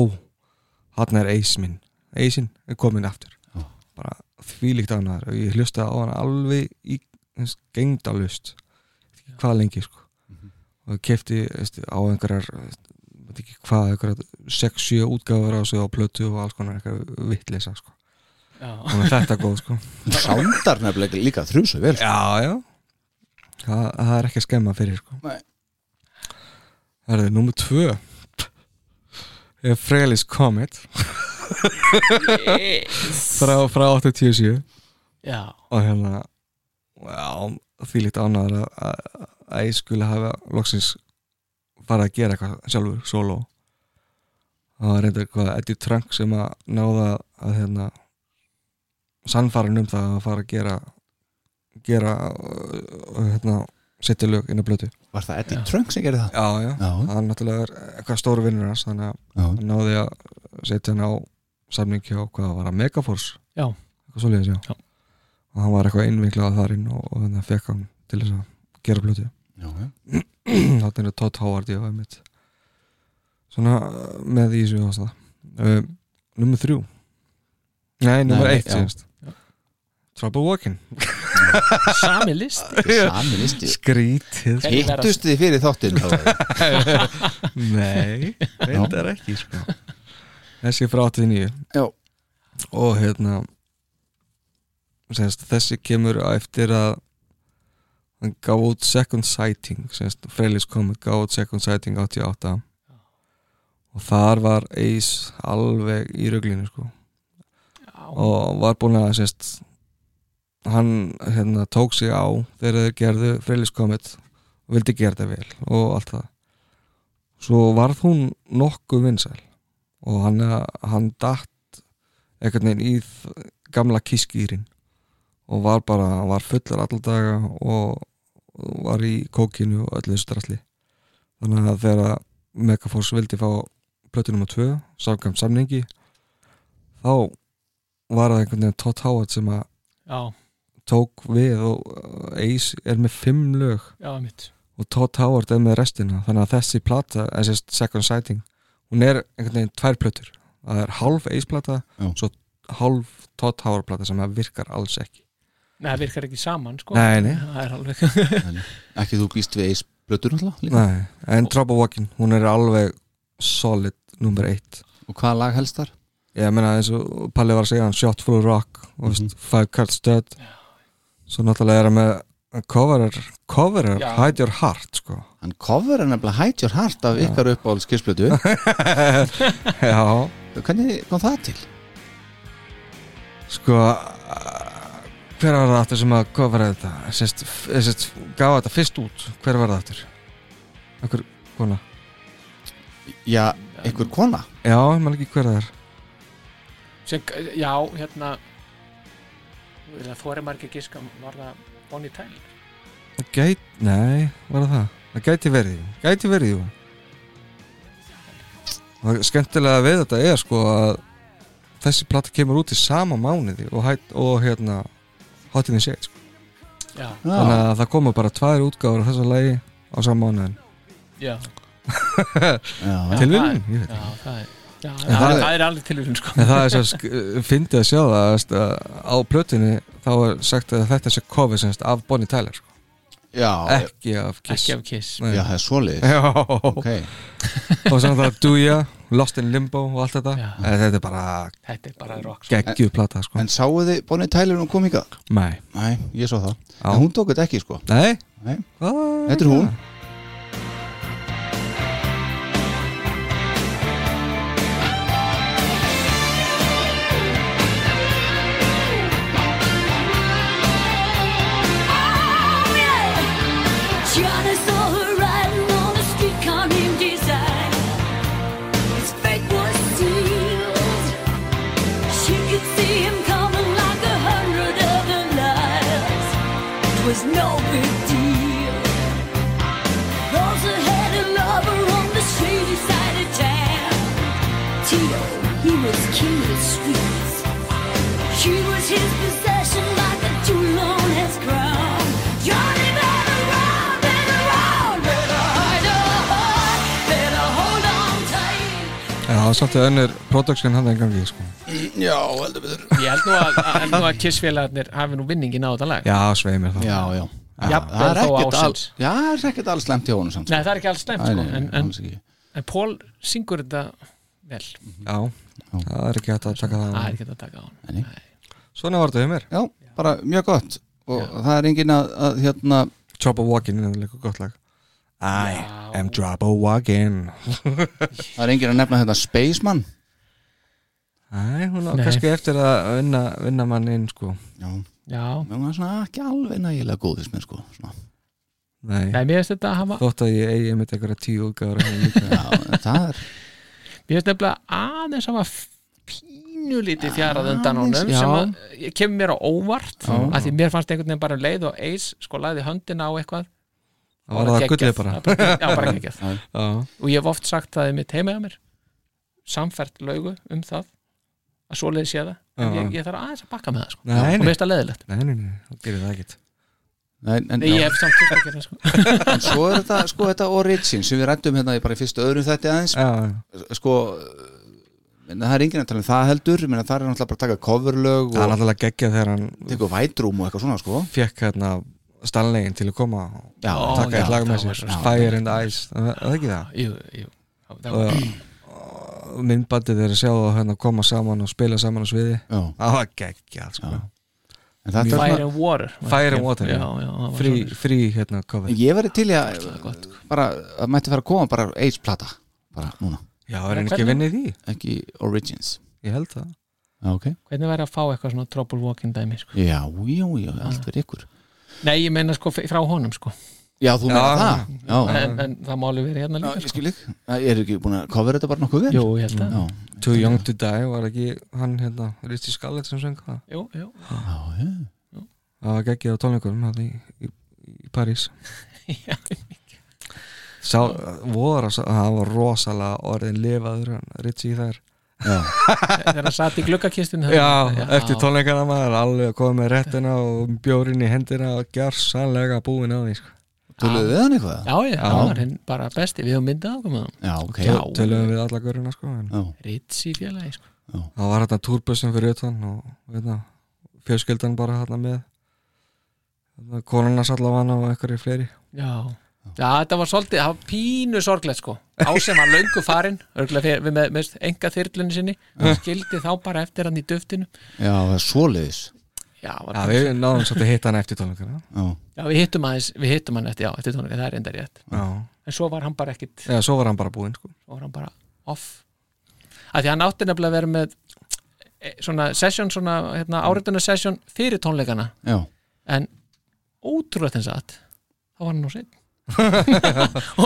Speaker 2: hann er Ace minn Ace-in er komin aftur
Speaker 1: Já.
Speaker 2: bara þvílíkt ánæður og ég hlustaði á hann alveg í gengdalust hvað lengi sko og ég kefti á einhverjar veist, veit ekki hvað, einhverjar 6-7 útgáfur á sig á plötu og alls konar eitthvað vittleysa sko.
Speaker 3: já,
Speaker 2: þannig að þetta er góð sko.
Speaker 1: Sándar nefnilega líka þrjúsu vel
Speaker 2: já, já Þa, það er ekki að skemma fyrir sko.
Speaker 1: Nei.
Speaker 2: það er nummer 2 er Frelis Comet frá, frá 87
Speaker 3: já,
Speaker 2: og hérna já, því líkt ánæður að að ég skulle hafa loksins bara að gera eitthvað sjálfur solo það var reyndar eitthvað Eddie Trunk sem að náða að hérna sannfæran um það að fara að gera gera uh, hérna, setja lög inn á blötu
Speaker 1: Var það Eddie
Speaker 3: Já.
Speaker 1: Trunk sem gerði það?
Speaker 2: já, já,
Speaker 1: Já,
Speaker 2: það er náttúrulega er eitthvað stóru vinnur hans þannig að
Speaker 1: já,
Speaker 2: hann náði að setja hann á samning hjá hvað var að Megaforce
Speaker 3: Já.
Speaker 2: eitthvað svoleiðis já.
Speaker 3: Já.
Speaker 2: og hann var eitthvað innviklað þar inn og, og þannig að fekk hann til þess að gera (clears throat) blötu
Speaker 1: já, já.
Speaker 2: þannig að Todd Howard ég var mitt svona uh, með í þessu ástæða uh, nummer þrjú nei, nummer
Speaker 1: Nei,
Speaker 2: eitt
Speaker 1: já.
Speaker 2: síðast
Speaker 3: Já.
Speaker 2: Trouble Walking
Speaker 3: sami list
Speaker 1: Þetta er Sami listi
Speaker 2: skrítið
Speaker 3: Hvernig verða-
Speaker 1: Hittust þið fyrir þáttinn þá?
Speaker 2: Nei, reyndar ekki sko. Þessi er frá 89
Speaker 1: Já.
Speaker 2: Og hérna sérst, Þessi kemur á eftir að hann gaf út second sighting sérst, Freilis komið gaf út second sighting 88 og þar var Ace alveg í röglinu sko.
Speaker 3: já,
Speaker 2: og var búinn að sérst, hann hérna, tók sig á þegar þeir gerðu Freilis komið og vildi gera það vel og allt það svo varð hún nokkuð vinsæl og hann, hann datt einhvern veginn í þ- gamla kískýrin og var bara, hann var fullur allar daga og og var í kókinu og öllu þessu dralli þannig að þegar að Megaforce vildi fá plötu nr. 2 samkvæmt samningi þá var það einhvern veginn Todd Howard sem að
Speaker 3: já,
Speaker 2: tók við og uh, Ace er með fimm lög
Speaker 3: já, mitt
Speaker 2: og Todd Howard er með restina þannig að þessi plata, þessi second sighting hún er einhvern veginn tvær plötur það er hálf Ace plata
Speaker 1: Já.
Speaker 2: svo hálf Todd Howard plata sem að virkar alls ekki
Speaker 3: nei, það virkar ekki saman sko
Speaker 2: Nei, nei.
Speaker 3: það er alveg
Speaker 1: Ekki þú býst við eis blötur náttúrulega líka?
Speaker 2: Nei, en Trouble Walking, hún er alveg solid nummer eitt
Speaker 1: Og hvaða lag helst þar?
Speaker 2: ég meina eins og Palli var að segja hann Shot Full of Rock og veist, Five Card Stud svo náttúrulega er hann með hann coverar, coverar
Speaker 3: Já.
Speaker 2: Hide Your Heart sko (laughs)
Speaker 1: Hann cover er nefnilega Hide Your Heart af ykkar uppáhalds
Speaker 2: (laughs)
Speaker 1: kissblötu
Speaker 2: já,
Speaker 1: Hvernig kom það til?
Speaker 2: sko hver var það aftur sem að coveraði þetta sérst, sérst, gaf þetta fyrst út hver var það aftur einhver kona
Speaker 1: Já, einhver kona
Speaker 2: já, ég man ekki hver það er
Speaker 3: sem, já, hérna Vilja þóri margir gíska Var það Bonnie Tyler?
Speaker 2: Gæt, nei, var það það? Það gæti verið, gæti verið, jú. Það er skemmtilega við þetta er sko að þessi plata kemur út í sama mánuði og, hætt, og hérna Hotin í set, sko.
Speaker 3: Já,
Speaker 2: Þannig að það koma bara tvær útgáfur af þessu lagi á sama mánuðin.
Speaker 3: já,
Speaker 1: já,
Speaker 2: Tilviljun, ég veit.
Speaker 3: já, það er Já,
Speaker 2: En
Speaker 3: það,
Speaker 2: það
Speaker 3: er,
Speaker 2: er-
Speaker 3: það er alveg tilvísun sko
Speaker 2: En það er svo sk- fyndið að sjá það að veist, að á plötunni þá er sagt að þetta sé cover semst af Bonnie Tyler, sko.
Speaker 1: já,
Speaker 2: ekki af Kiss.
Speaker 3: Ekki af Kiss
Speaker 2: Nei.
Speaker 1: já, það er svoleiðis
Speaker 2: Já,
Speaker 1: ok,
Speaker 2: og samt að Duja, Lost in Limbo og allt þetta
Speaker 3: Já.
Speaker 2: En Þetta er bara
Speaker 3: Þetta er bara rock sko.
Speaker 2: geggjuð plata sko.
Speaker 1: en sáu þið Bonnie Tyler um hún kom hingað?
Speaker 2: Nei,
Speaker 1: Nei, ég sá það,
Speaker 2: Já.
Speaker 1: en hún tók þetta ekki sko
Speaker 2: nei
Speaker 1: Nei.
Speaker 2: Hvað?
Speaker 1: Þetta er hún.
Speaker 7: Johnny saw her riding on a streetcar named Desire. His fate was sealed. She could see him coming like a hundred other lives. It was no big deal. Those who had a lover on the shady side of town. Tito, he was king of the streets. She was his possession like a jewel on his crown. Johnny better run, better run, better hide a heart, better hold on tight.
Speaker 2: Já, það er samt að önnur production hann er í gangi sko.
Speaker 1: já, heldur betur
Speaker 3: Ég held nú að, að, held nú að Kiss-félagarnir hafi nú vinningin á þetta lag
Speaker 2: Já, sveið mér það
Speaker 1: já, já, já
Speaker 3: Jafnvel
Speaker 1: það er
Speaker 3: þó
Speaker 1: ekkert
Speaker 3: ásins.
Speaker 1: alls já, það er ekkert alls slemt hjá honum samt
Speaker 3: Nei, það er ekki alls slæmt
Speaker 1: Nei,
Speaker 3: sko
Speaker 1: nei,
Speaker 3: en, en,
Speaker 1: alls ekki.
Speaker 3: en Paul syngur þetta vel
Speaker 2: Já, það er ekki hægt að taka það
Speaker 3: Það er
Speaker 2: á.
Speaker 3: ekki að taka á hann
Speaker 1: Nei.
Speaker 2: Svona var þetta hjá mér
Speaker 1: já, bara mjög gott og það er engin að, að hérna
Speaker 2: Chopper Walkin er líka gott lag I
Speaker 3: Já.
Speaker 2: am Chopper Walkin
Speaker 1: það er engin að nefna hérna Spaceman
Speaker 2: Æ, hún á
Speaker 3: Nei.
Speaker 2: kannski eftir að vinna, vinna mann inn sko.
Speaker 1: já, mér
Speaker 3: Já,
Speaker 1: var svona ekki alveg nægilega góð fyrst mér sko, svona
Speaker 2: Nei,
Speaker 3: nei, mér finnst þetta að hafa
Speaker 2: þótt að ég eigi einmitt einhverja tíu útgáður
Speaker 3: (laughs)
Speaker 1: já, en það er
Speaker 3: Mér finnst nefnilega aðeins að maður pínulítið fjarað undan honum
Speaker 1: já.
Speaker 3: sem að, ég kemur mér á óvart
Speaker 1: Já.
Speaker 3: af því mér fannst einhvern veginn bara um leið og eis sko lagði höndina á eitthvað
Speaker 2: Það var það gullið
Speaker 3: geggjað.
Speaker 2: bara
Speaker 3: Það bara- Já, bara geggjað
Speaker 2: Já,
Speaker 3: og ég hef oft sagt það mitt heimaða mér samfært laugu um það að svoleiði sé það en
Speaker 2: Já.
Speaker 3: ég, ég þarf aðeins að bakka með það sko.
Speaker 2: Nei, nei.
Speaker 3: og mér finnst það leðilegt
Speaker 2: nei, nei, nei, það gerir það ekkert
Speaker 1: Nei, en,
Speaker 3: Nei, ég hef samt þurft að gera það sko.
Speaker 1: en svo er þetta, sko, þetta origin sem við rættum hérna í bara í fyrstu öðrum þetta aðeins
Speaker 2: Já, já
Speaker 1: sko en það er enginn að tala um það heldur menn það er náttúrulega bara að taka coverlög
Speaker 2: Það er
Speaker 1: og
Speaker 2: náttúrulega geggjað þegar hann
Speaker 1: tekur vætrúm og eitthvað svona sko
Speaker 2: fekk hérna Stanleyin til að koma og
Speaker 1: já,
Speaker 3: Ó,
Speaker 2: taka
Speaker 3: já,
Speaker 2: eitt lag með
Speaker 3: það var
Speaker 2: sér
Speaker 3: svo-
Speaker 2: Fire in the Ice, það er það ekki það
Speaker 3: jú, jú. Það var-
Speaker 2: og, og myndbandið þeir að sjá það hérna koma saman og spila saman á sviði
Speaker 1: já,
Speaker 2: það var geggjað sko.
Speaker 1: en þetta er
Speaker 3: Fire
Speaker 1: svona
Speaker 3: and Water
Speaker 2: Fire and Water,
Speaker 3: já,
Speaker 2: já.
Speaker 3: já, það var
Speaker 2: frí,
Speaker 3: svoleiðis.
Speaker 2: frí hérna cover
Speaker 1: ég verði til í að
Speaker 3: gott,
Speaker 1: bara, að mætti fara að koma bara AIDS plata bara núna,
Speaker 2: já, er hann ekki vinnið í því?
Speaker 1: ekki Origins
Speaker 2: ég held það
Speaker 1: já, ok,
Speaker 3: hvernig væri að fá eitthvað svona Trouble Walking dæmi sko.
Speaker 1: já, já, já, allt fyrir ykkur
Speaker 3: nei, ég meina sko f- frá honum sko.
Speaker 1: já, þú meina
Speaker 2: Já.
Speaker 1: það já,
Speaker 3: en, en það máli verið hérna
Speaker 1: já,
Speaker 3: líka
Speaker 1: ég
Speaker 3: sko.
Speaker 1: skil ekki, ég er ekki búin að cover þetta bara nokkuð vel
Speaker 3: jú, ég held að
Speaker 1: já,
Speaker 2: Too Young to Die var ekki hann hérna Richie Scarlett sem söng það
Speaker 3: jú, jú.
Speaker 1: já, já,
Speaker 2: það var geggjað á tónleikunum hann í, í, í (laughs) París
Speaker 3: Já.
Speaker 2: Sá, voru, það var rosalega orðin lifaður hann, Richie í þær
Speaker 1: já,
Speaker 3: þegar hann satt í gluggakistun
Speaker 2: Já, eftir tónleikana maður alveg komið með réttina og bjórin í hendina og gjör sannlega búin á því sko.
Speaker 1: töluðu við hann eitthvað
Speaker 3: já, já, það var hinn bara besti við höfum myndað okkur með hann
Speaker 1: já, ok,
Speaker 3: Já.
Speaker 2: Tölum við alla göruna sko en
Speaker 1: já,
Speaker 3: Ritsi félagi sko.
Speaker 2: Það var hérna túrbössum fyrir utan og veitna, fjölskyldan bara hérna með hérna, konuna sallafana og einhverju fleiri
Speaker 3: Já, já þetta var svolítið, það var pínu sorglegt sko Á sem var löngu farin, örgulega fyrir, við með, með enga þyrlunni sinni Skildi þá bara eftir hann í duftinu
Speaker 1: já, það er svoleiðis
Speaker 3: Já, var,
Speaker 2: Já,
Speaker 3: já, við,
Speaker 2: við náðum svolítið að hitta hann eftir tónleikana
Speaker 1: já,
Speaker 3: hittum aðeins, við hittum hann eftir, já, eftir tónleika, það er enda rétt
Speaker 2: Já,
Speaker 3: En svo var hann bara ekkit,
Speaker 2: eða svo var hann bara búinn sko.
Speaker 3: svo var hann bara off Af því hann átti nefnilega að vera með eh, svona session, svona hérna, áriðuna session fyrir tónleikana
Speaker 1: já,
Speaker 3: En ótrúlega þess að þá var hann nú sinn Og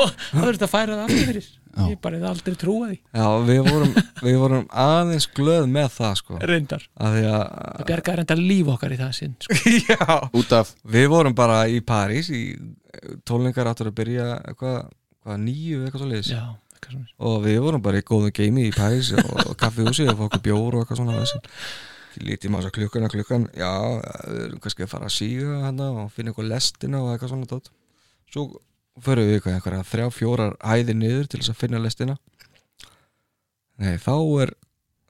Speaker 3: það verður þetta að færa það aftur fyrir
Speaker 1: Já.
Speaker 3: ég bara hefði aldrei trúið því
Speaker 2: Já, við vorum, við vorum aðeins glöð með það sko
Speaker 3: reyndar,
Speaker 2: að því
Speaker 3: það
Speaker 2: að
Speaker 3: bjargaði reyndar líf okkar í það sinn sko.
Speaker 2: (laughs) Já,
Speaker 1: út af
Speaker 2: við vorum bara í París í tólningar áttur að byrja eitthvað, hvað, nýju eitthvað svo leiðis
Speaker 3: já, eitthvað svona
Speaker 2: og við vorum bara í góðu geimi í París og kaffihúsi og fá okkur bjór og eitthvað svona þessi lítið maður svo klukkan að klukkan já, við erum kannski að fara að síga hana og finna eitthvað lestina og eitthvað svona dót svo förum við eitthvað einhverja þrjá, fjórar hæðir niður til þess að finna lestina nei, þá er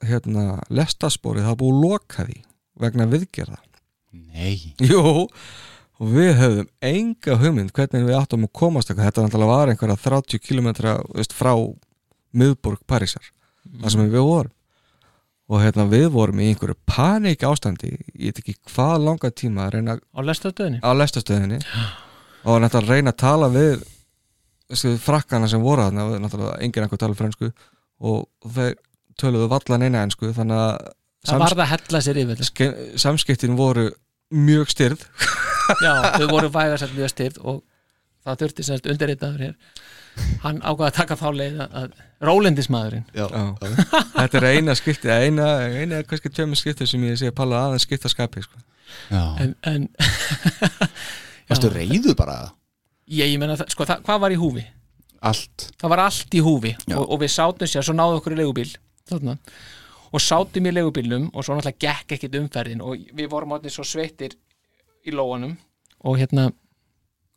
Speaker 2: hérna, lestasporið það er búið að loka því vegna viðgerða
Speaker 1: Nei
Speaker 2: Jú, og við höfðum enga hugmynd hvernig við áttum að komast eitthvað. Þetta náttúrulega var einhverja 30 kilometra veist, frá miðborg Parísar, þar
Speaker 3: Mhm.
Speaker 2: sem við vorum. Og hérna við vorum í einhverju paník ástandi, ég veit ekki hvað langa tíma að reyna
Speaker 3: á lestastöðinni,
Speaker 2: á lestastöðinni og náttúrulega að reyna að tala við þessi, frakkana sem voru þarna og náttúrulega enginn einhver tala frönsku og þeir töluðu vallan eina ensku þannig að
Speaker 3: það varð að hella sér yfir þetta. sko.
Speaker 2: samske- samskiptin voru mjög styrð
Speaker 3: já, þau voru vægarsett mjög stifð og það þurfti semst undirritaður hér hann ákvaði að taka þá leið að- að rólendismæðurinn
Speaker 2: Já. Þetta er eina skipti eina, eina eða kannski tveimur skipti sem ég sé að palla aðeins skipta skapi sko.
Speaker 1: Já.
Speaker 3: en, en
Speaker 1: Varstu reyðu bara
Speaker 3: ég, ég meina, það- sko, það, hvað var í húfi?
Speaker 1: allt
Speaker 3: það var allt í húfi
Speaker 1: Já.
Speaker 3: og, og við sátum sér, svo náðu okkur í leigubíl þarna, og sátum í leigubílnum og svo náttúrulega gekk ekkit umferðin og við vorum orðin svo sveittir í lóanum og (laughs) hérna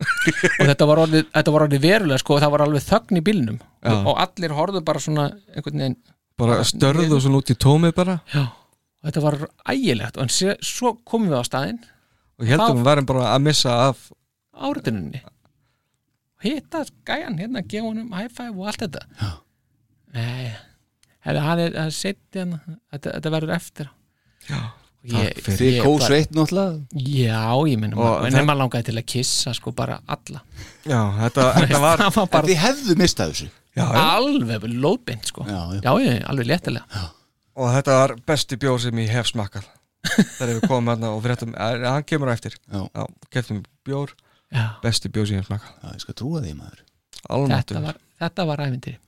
Speaker 3: og þetta var orðið, þetta var orðið verulega sko, það var alveg þögn í bílnum
Speaker 2: Já.
Speaker 3: og, og allir horfðu bara svona einhvern veginn
Speaker 2: bara störðu svona út í tómi bara
Speaker 3: já, og þetta var ægilegt og en sé, svo komum við á staðinn
Speaker 2: og heldum við værum bara að missa af
Speaker 3: árituninni hitta gæjan hérna, gefa honum high five og allt þetta já. nei, hefði hann er að setja hann, þetta, þetta verður eftir
Speaker 2: Já,
Speaker 3: Ég-
Speaker 2: takk fyrir.
Speaker 1: Þið
Speaker 3: ég
Speaker 1: kós
Speaker 3: bara-
Speaker 1: veitt náttúrulega
Speaker 3: já, ég menna,
Speaker 2: Og
Speaker 3: en
Speaker 2: það-
Speaker 3: nema langaði til að kissa sko bara alla
Speaker 2: Já, þetta, þetta var
Speaker 3: það var
Speaker 1: En
Speaker 3: bara
Speaker 1: þið hefðu mistað þessu
Speaker 2: já, já.
Speaker 3: alveg lóðbind sko
Speaker 1: Já, já.
Speaker 3: já, já, alveg léttilega
Speaker 2: og þetta var besti bjór sem ég hef smakkað þegar við komum hérna og fréttum að- hann kemur á eftir,
Speaker 1: Já,
Speaker 2: já, keftum bjór
Speaker 3: já,
Speaker 2: besti bjór sem ég hef smakkað
Speaker 1: já ég skal trúa því maður
Speaker 2: almáttur,
Speaker 3: þetta var, þetta var æfintir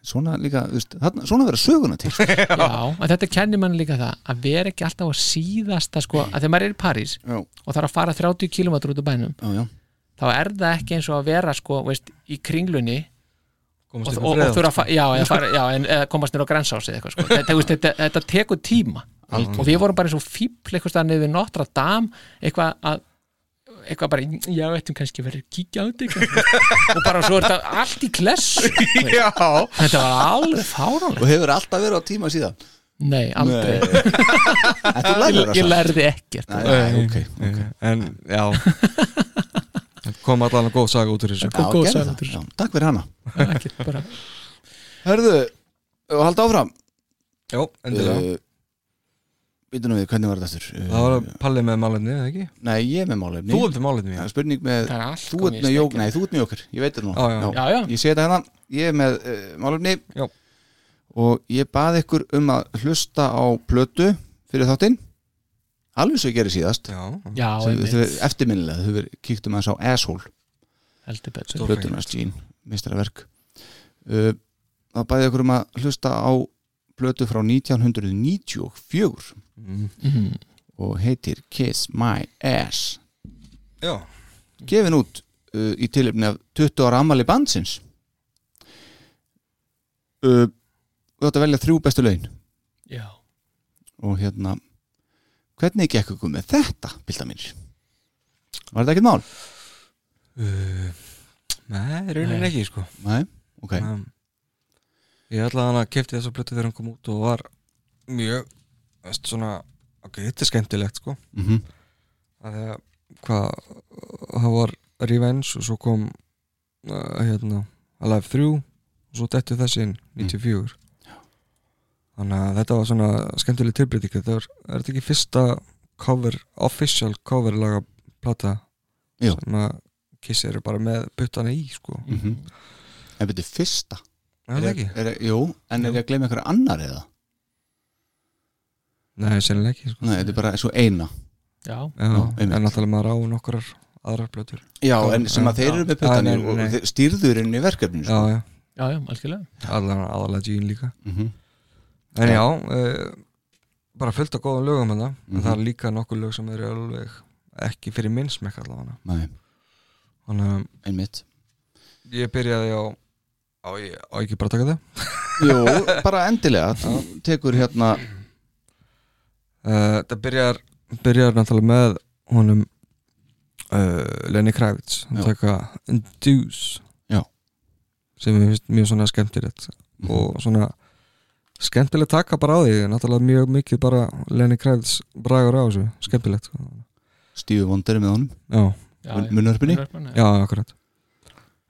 Speaker 1: Svona líka, þú veist, þarna, svona vera söguna (laughs) til sko.
Speaker 3: já, en þetta kennir mann líka það að vera ekki alltaf á síðasta sko, að þegar maður er í París
Speaker 1: Já, já,
Speaker 3: og þarf að fara 30 km út af bænum
Speaker 1: já
Speaker 3: þá er það ekki eins og að vera sko, veist, í kringlunni
Speaker 2: komast
Speaker 3: og,
Speaker 2: upp
Speaker 3: og, og þurfa að fa já, eða fara, já, en, eða komast nýra á grænsási eitthvað, sko. þetta, veist, þetta, þetta tekur tíma Allt. og við vorum bara eins og fíbl eitthvað staðar niður við Notre Dame eitthvað að eitthvað bara, já, ættum kannski verið að kíkja á þetta eitthvað. og bara svo er þetta allt í klessu
Speaker 2: já,
Speaker 3: þetta var alveg fáránlega
Speaker 1: Og hefur alltaf verið á tíma síðan
Speaker 3: nei, aldrei,
Speaker 1: En þú lærður
Speaker 3: ég, ég
Speaker 1: það
Speaker 3: lærði ekkert
Speaker 1: Nei, nei, ok, ok
Speaker 2: en já kom allan að góð saga út úr þessu
Speaker 1: Já,
Speaker 3: Og góð
Speaker 1: gerðu
Speaker 3: saga.
Speaker 1: það, já, takk fyrir hana
Speaker 3: ekkert bara,
Speaker 1: Herðu, og halda áfram Eh,
Speaker 2: já, endilega,
Speaker 1: Býtum við, hvernig var þetta aftur? Uh,
Speaker 2: það var pallið með málefni, eða ekki?
Speaker 1: Nei, ég er með málefni
Speaker 2: Þú ert með málefni,
Speaker 1: Það
Speaker 2: já
Speaker 1: er spurning með
Speaker 3: það er allt
Speaker 1: Þú
Speaker 3: komið
Speaker 1: ert
Speaker 3: í
Speaker 1: með
Speaker 3: snekkju.
Speaker 1: jók, nei, þú ert með jóker Ég veit það nú
Speaker 2: Já, já.
Speaker 3: já, já,
Speaker 1: Ég segi þetta hérna, ég er með uh, málefni
Speaker 2: Já.
Speaker 1: og ég baði ykkur um að hlusta á plötu fyrir þáttinn alveg svo ég gerði síðast
Speaker 2: Já,
Speaker 3: já,
Speaker 1: Sem þau-
Speaker 3: einmitt,
Speaker 1: eftirminnilega, þau verið kíktum að sá Asshole,
Speaker 3: heldur betur
Speaker 2: Stórfenglegt.
Speaker 1: plötunas Jean mistaraverk uh, þá baði ég ykkur um að hlusta á plötu frá 1994
Speaker 2: mm.
Speaker 3: Mhm.
Speaker 1: og heitir Kiss My Ass
Speaker 2: já.
Speaker 1: gefin út uh, í tilöfni af 20 ára ammali bandsins uh, þú átt að velja þrjú bestu laun
Speaker 3: já
Speaker 1: og hérna hvernig gekk ykkur með þetta, bylda mínir var þetta ekkert mál?
Speaker 2: Uh, Nei, raunin
Speaker 3: Nei.
Speaker 2: ekki sko
Speaker 1: Nei, ok
Speaker 2: um, Ég ætla hann að kefti þessa plötu þegar hann kom út og var mjög veist, svona, ok, þetta er skemmtilegt sko
Speaker 1: mm
Speaker 2: að það, hvað það var Revenge og svo kom uh, hérna, Alive 3 og svo dettu þessi inn
Speaker 1: Mm.
Speaker 2: 94 þannig að þetta var svona skemmtileg tilbreyting þetta var, er þetta ekki fyrsta cover, official cover laga plata
Speaker 1: Jú.
Speaker 2: sem að Kiss eru bara með puttana í sko,
Speaker 1: mhm. en betur fyrsta
Speaker 2: er það ekki?
Speaker 1: er, jú, en er ég að gleyma einhverja annar eða?
Speaker 2: Nei, sennilega ekki sko.
Speaker 1: Nei, þetta er bara svo eina
Speaker 3: já,
Speaker 2: Já,
Speaker 1: einmitt.
Speaker 2: en náttúrulega maður á nokkrar aðrar plötur
Speaker 1: Já, en sem að þeir eru með
Speaker 2: Já,
Speaker 1: puttanir
Speaker 2: nei, nei,
Speaker 1: og
Speaker 2: nei.
Speaker 1: þeir stýrðurinn í verkefninu
Speaker 2: Já,
Speaker 1: sko.
Speaker 2: já,
Speaker 3: já, já, já, algjörlega
Speaker 2: allan aðalega Gene líka
Speaker 1: Mhm.
Speaker 2: en já, uh, bara fullt af góðum lögum hérna, en það er líka nokkur lög sem eru alveg ekki fyrir minn smekk allavega
Speaker 1: Nei,
Speaker 2: þannig að
Speaker 1: einmitt
Speaker 2: ég byrjaði á á ég, á ég ekki bara að taka það
Speaker 1: Jú, bara endilega Þú tekur hérna
Speaker 2: uh, það byrjar byrjar náttúrulega með honum uh, Lenny Kravitz hann
Speaker 1: Já.
Speaker 2: taka Induce
Speaker 1: Já.
Speaker 2: sem er finnst mjög svona skemmtilegt og svona skemmtilegt taka bara á því náttúrulega mjög mikið bara Lenny Kravitz bragur á þessu, skemmtilegt sko.
Speaker 1: Stífi Vondari með honum
Speaker 2: já,
Speaker 3: já,
Speaker 1: mun-
Speaker 3: já.
Speaker 1: munnörpunni
Speaker 3: Munnvörpunni,
Speaker 2: já, akkurat já,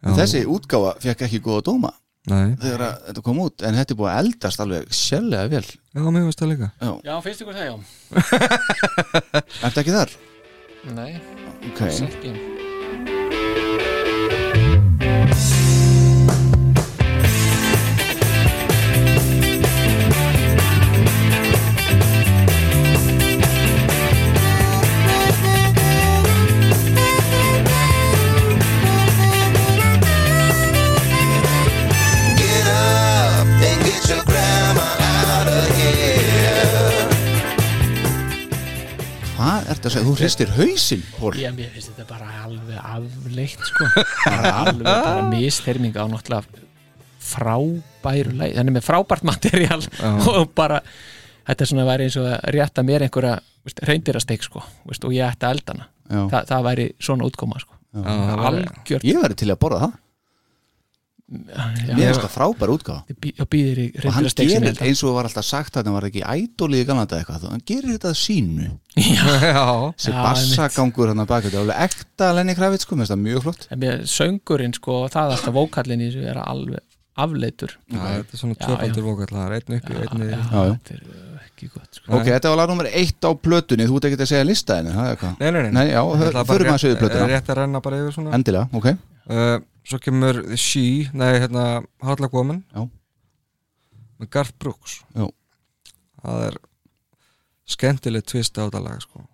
Speaker 1: En Þessi útgáfa fekk ekki góða dóma
Speaker 2: nei,
Speaker 1: þegar að þetta kom út en þetta er búið að eldast alveg sérlega vel
Speaker 2: já, mér finnst það líka
Speaker 3: já, finnst ykkur það, já
Speaker 1: (laughs) Ertu ekki þar?
Speaker 3: nei,
Speaker 1: Ok
Speaker 3: ekki
Speaker 8: Get up and get your grandma out of here.
Speaker 1: Hvað ertu að segja? Þú hristir hausinn, Pól
Speaker 3: Já, mér finnst þetta bara alveg afleitt sko. bara alveg bara misterming á náttúrulega frábæru læg, þannig með frábært materiál og bara þetta er svona væri eins og að rétta mér einhverja reyndirasteg sko, veist, og ég ætti að eldana
Speaker 1: Já.
Speaker 3: Þa, það væri svona útkoma sko.
Speaker 2: það væri-
Speaker 3: algjört
Speaker 1: Ég verði til að borða það
Speaker 3: já,
Speaker 1: Mér finnst það frábæra útgáfa
Speaker 3: ég bý- ég býðir í
Speaker 1: og hann
Speaker 3: reyndirasteg
Speaker 1: gerir þetta eins og var alltaf sagt að hann var ekki ædolið í galanda eitthvað hann gerir þetta að sínu
Speaker 2: (laughs) já,
Speaker 1: þessi
Speaker 3: Já,
Speaker 1: bassagangur hann að baka þetta er alveg ekta Lenny Kravitz sko, mér finnst það mjög flott
Speaker 3: mér, söngurinn sko, það alltaf vókallin í þessu er alveg afleittur
Speaker 2: já, þetta er svona
Speaker 3: Já,
Speaker 2: tvöfaldur vokall það er einn uppi, einn niður
Speaker 1: já, já.
Speaker 3: þetta er uh, ekki gott sko.
Speaker 1: ok, þetta var lag nummer eitt á plötunni þú ert ekki að segja listaðinu, það er eitthvað
Speaker 2: Nei, nei, nei,
Speaker 1: Nei, já,
Speaker 2: Ég ætla
Speaker 1: hör-
Speaker 2: bara
Speaker 1: förum
Speaker 2: rétt-
Speaker 1: aðeins yfir plötuna.
Speaker 2: Rétt að renna bara yfir svona
Speaker 1: endilega, ok,
Speaker 2: uh, Svo kemur The She, nei, hérna Harla Woman
Speaker 1: Já.
Speaker 2: Með Garth Brooks
Speaker 1: Já.
Speaker 2: Það er skemmtileg tvist á þetta lag sko.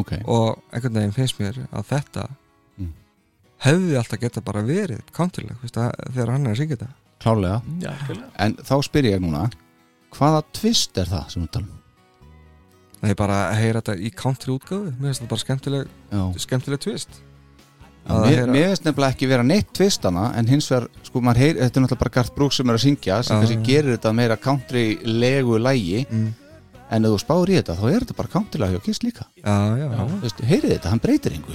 Speaker 1: ok
Speaker 2: Og einhvern veginn finnst mér að þetta
Speaker 1: Mm.
Speaker 2: hefði alltaf geta bara verið countileg, veist það, þegar hann er að syngja þetta
Speaker 1: klárlega,
Speaker 3: já, algjörlega.
Speaker 1: en þá spyr ég núna hvaða tvist er það sem við talum
Speaker 2: Nei, bara að heyra þetta í country útgáfu Mér finnst þetta bara skemmtileg,
Speaker 1: já,
Speaker 2: skemmtileg tvist
Speaker 1: já mér,
Speaker 2: að heyra-
Speaker 1: mér finnst nefnilega ekki vera neitt tvist hana en hins vegar, sko, maður heyr þetta er náttúrulega bara Garth Brooks sem er að syngja sem
Speaker 2: Já,
Speaker 1: kannski
Speaker 2: já.
Speaker 1: gerir þetta meira country-legu lægi
Speaker 2: Mm.
Speaker 1: en ef þú spáir í þetta, þá er þetta bara country-lag hjá Kiss líka
Speaker 2: Já, já, já,
Speaker 1: Þú veist, heyrið þetta, hann breytir engu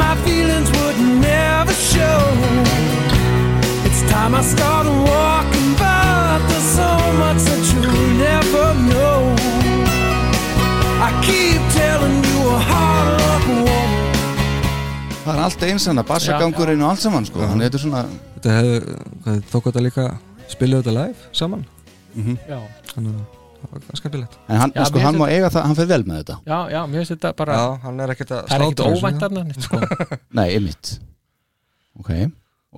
Speaker 6: My feelings would never show. It's time I started walking back. There's so much that you'll never know. I keep telling you a hard luck won't
Speaker 1: það er alltaf eins hann að bassagangurinn og allt saman sko. þannig þetta er svona
Speaker 2: Þetta hefði, hvað, tók þetta líka spilið þetta live saman
Speaker 3: Já.
Speaker 2: Þannig að það var ganska billett
Speaker 1: en hann,
Speaker 3: Já,
Speaker 1: sko,
Speaker 3: mér
Speaker 1: hann má
Speaker 3: finnst-
Speaker 1: eiga það, hann fer vel með þetta
Speaker 3: já, já, mér finnst þetta bara
Speaker 2: Já, hann er ekkert að
Speaker 3: það er ekkert
Speaker 2: slátra þessu,
Speaker 3: óvænt þarna neitt, sko.
Speaker 1: nei, einmitt ok,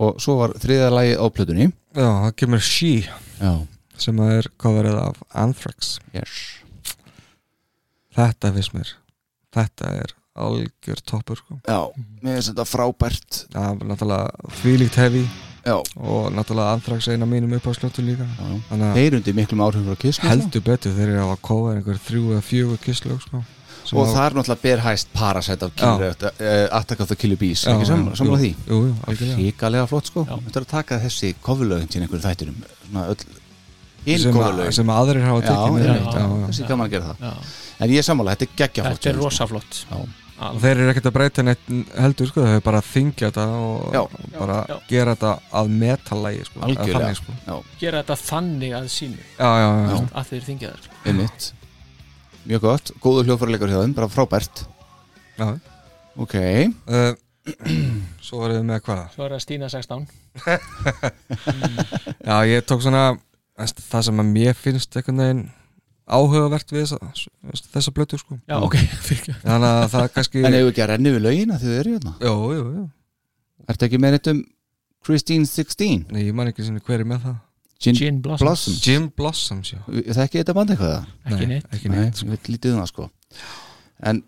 Speaker 1: og svo var þriðja lagi á plötunni
Speaker 2: Já, það kemur She
Speaker 1: já,
Speaker 2: sem að er coverið af Anthrax
Speaker 1: yes
Speaker 2: Þetta finnst mér Þetta er algjör toppur sko.
Speaker 1: já, mér finnst þetta frábært
Speaker 2: Það er náttúrulega þvílíkt hefi
Speaker 1: já,
Speaker 2: og náttúrulega Anthrax er eina mínum uppáðslötu líka
Speaker 1: já.
Speaker 2: Þannig að
Speaker 1: þeir undir miklum áhrifum frá Kiss náttúrulega.
Speaker 2: heldur betur þegar ég hafa að cover einhver þrjú eða fjögur kisslög sko, sem
Speaker 1: og
Speaker 2: að-
Speaker 1: það er náttúrulega berhæst Parasite af Killer, uh, Attack of the Killer Bees
Speaker 2: Já,
Speaker 1: ekki
Speaker 2: já,
Speaker 1: samla því
Speaker 2: Jú, jú, algjörlega
Speaker 1: híkalega flott sko, þetta er að taka þessi kofulögin til einhverju þættinum svona öll, hinn
Speaker 2: sem, að,
Speaker 1: kofulögin
Speaker 2: sem að aðrir hafa
Speaker 1: já,
Speaker 2: tekið með
Speaker 1: já,
Speaker 2: rétt,
Speaker 1: já, þessi gaman að gera það
Speaker 3: Já.
Speaker 1: en ég er sammála, þetta er geggjaflott
Speaker 3: þetta er rosaflott
Speaker 1: Já.
Speaker 2: Og Þeir eru ekkert að breyta neitt heldur sko, þau eru bara að þingja þetta og
Speaker 1: Já.
Speaker 2: bara
Speaker 3: Já, já.
Speaker 2: gera þetta að metalægi sko, að
Speaker 1: Algjörlega.
Speaker 2: þannig, sko.
Speaker 3: gera þetta þannig að sínu
Speaker 2: Já, já, já, já.
Speaker 3: að þeir þingja þar sko.
Speaker 1: einmitt mjög gott, góðu hljóðfæralegur hjá þeim, bara frábært
Speaker 2: já.
Speaker 1: ok,
Speaker 2: Uh, (clears throat) Svo erum við með hvað
Speaker 3: svo er það Stína 16
Speaker 2: Já, ég tók svona veist, það sem að mér finnst einhvern veginn áhugavert við þessa, veist, þessa blötu sko.
Speaker 3: já ok, (laughs) fyrir
Speaker 2: þannig að það er kannski
Speaker 1: (laughs) en hefur ekki að renni við lögina þegar þau eru hérna
Speaker 2: Jó, jú, jú,
Speaker 1: ertu ekki með neitt um Christine 16
Speaker 2: Nei, ég man ekki sinni hver er með það
Speaker 1: Gin,
Speaker 3: Gin Blossoms.
Speaker 1: Blossom,
Speaker 2: Jim Blossoms, já
Speaker 1: það er ekki þetta band eitthvað það?
Speaker 3: ekki
Speaker 2: Nei,
Speaker 3: neitt
Speaker 2: ekki neitt
Speaker 1: Nei, ég veit lítið um það sko en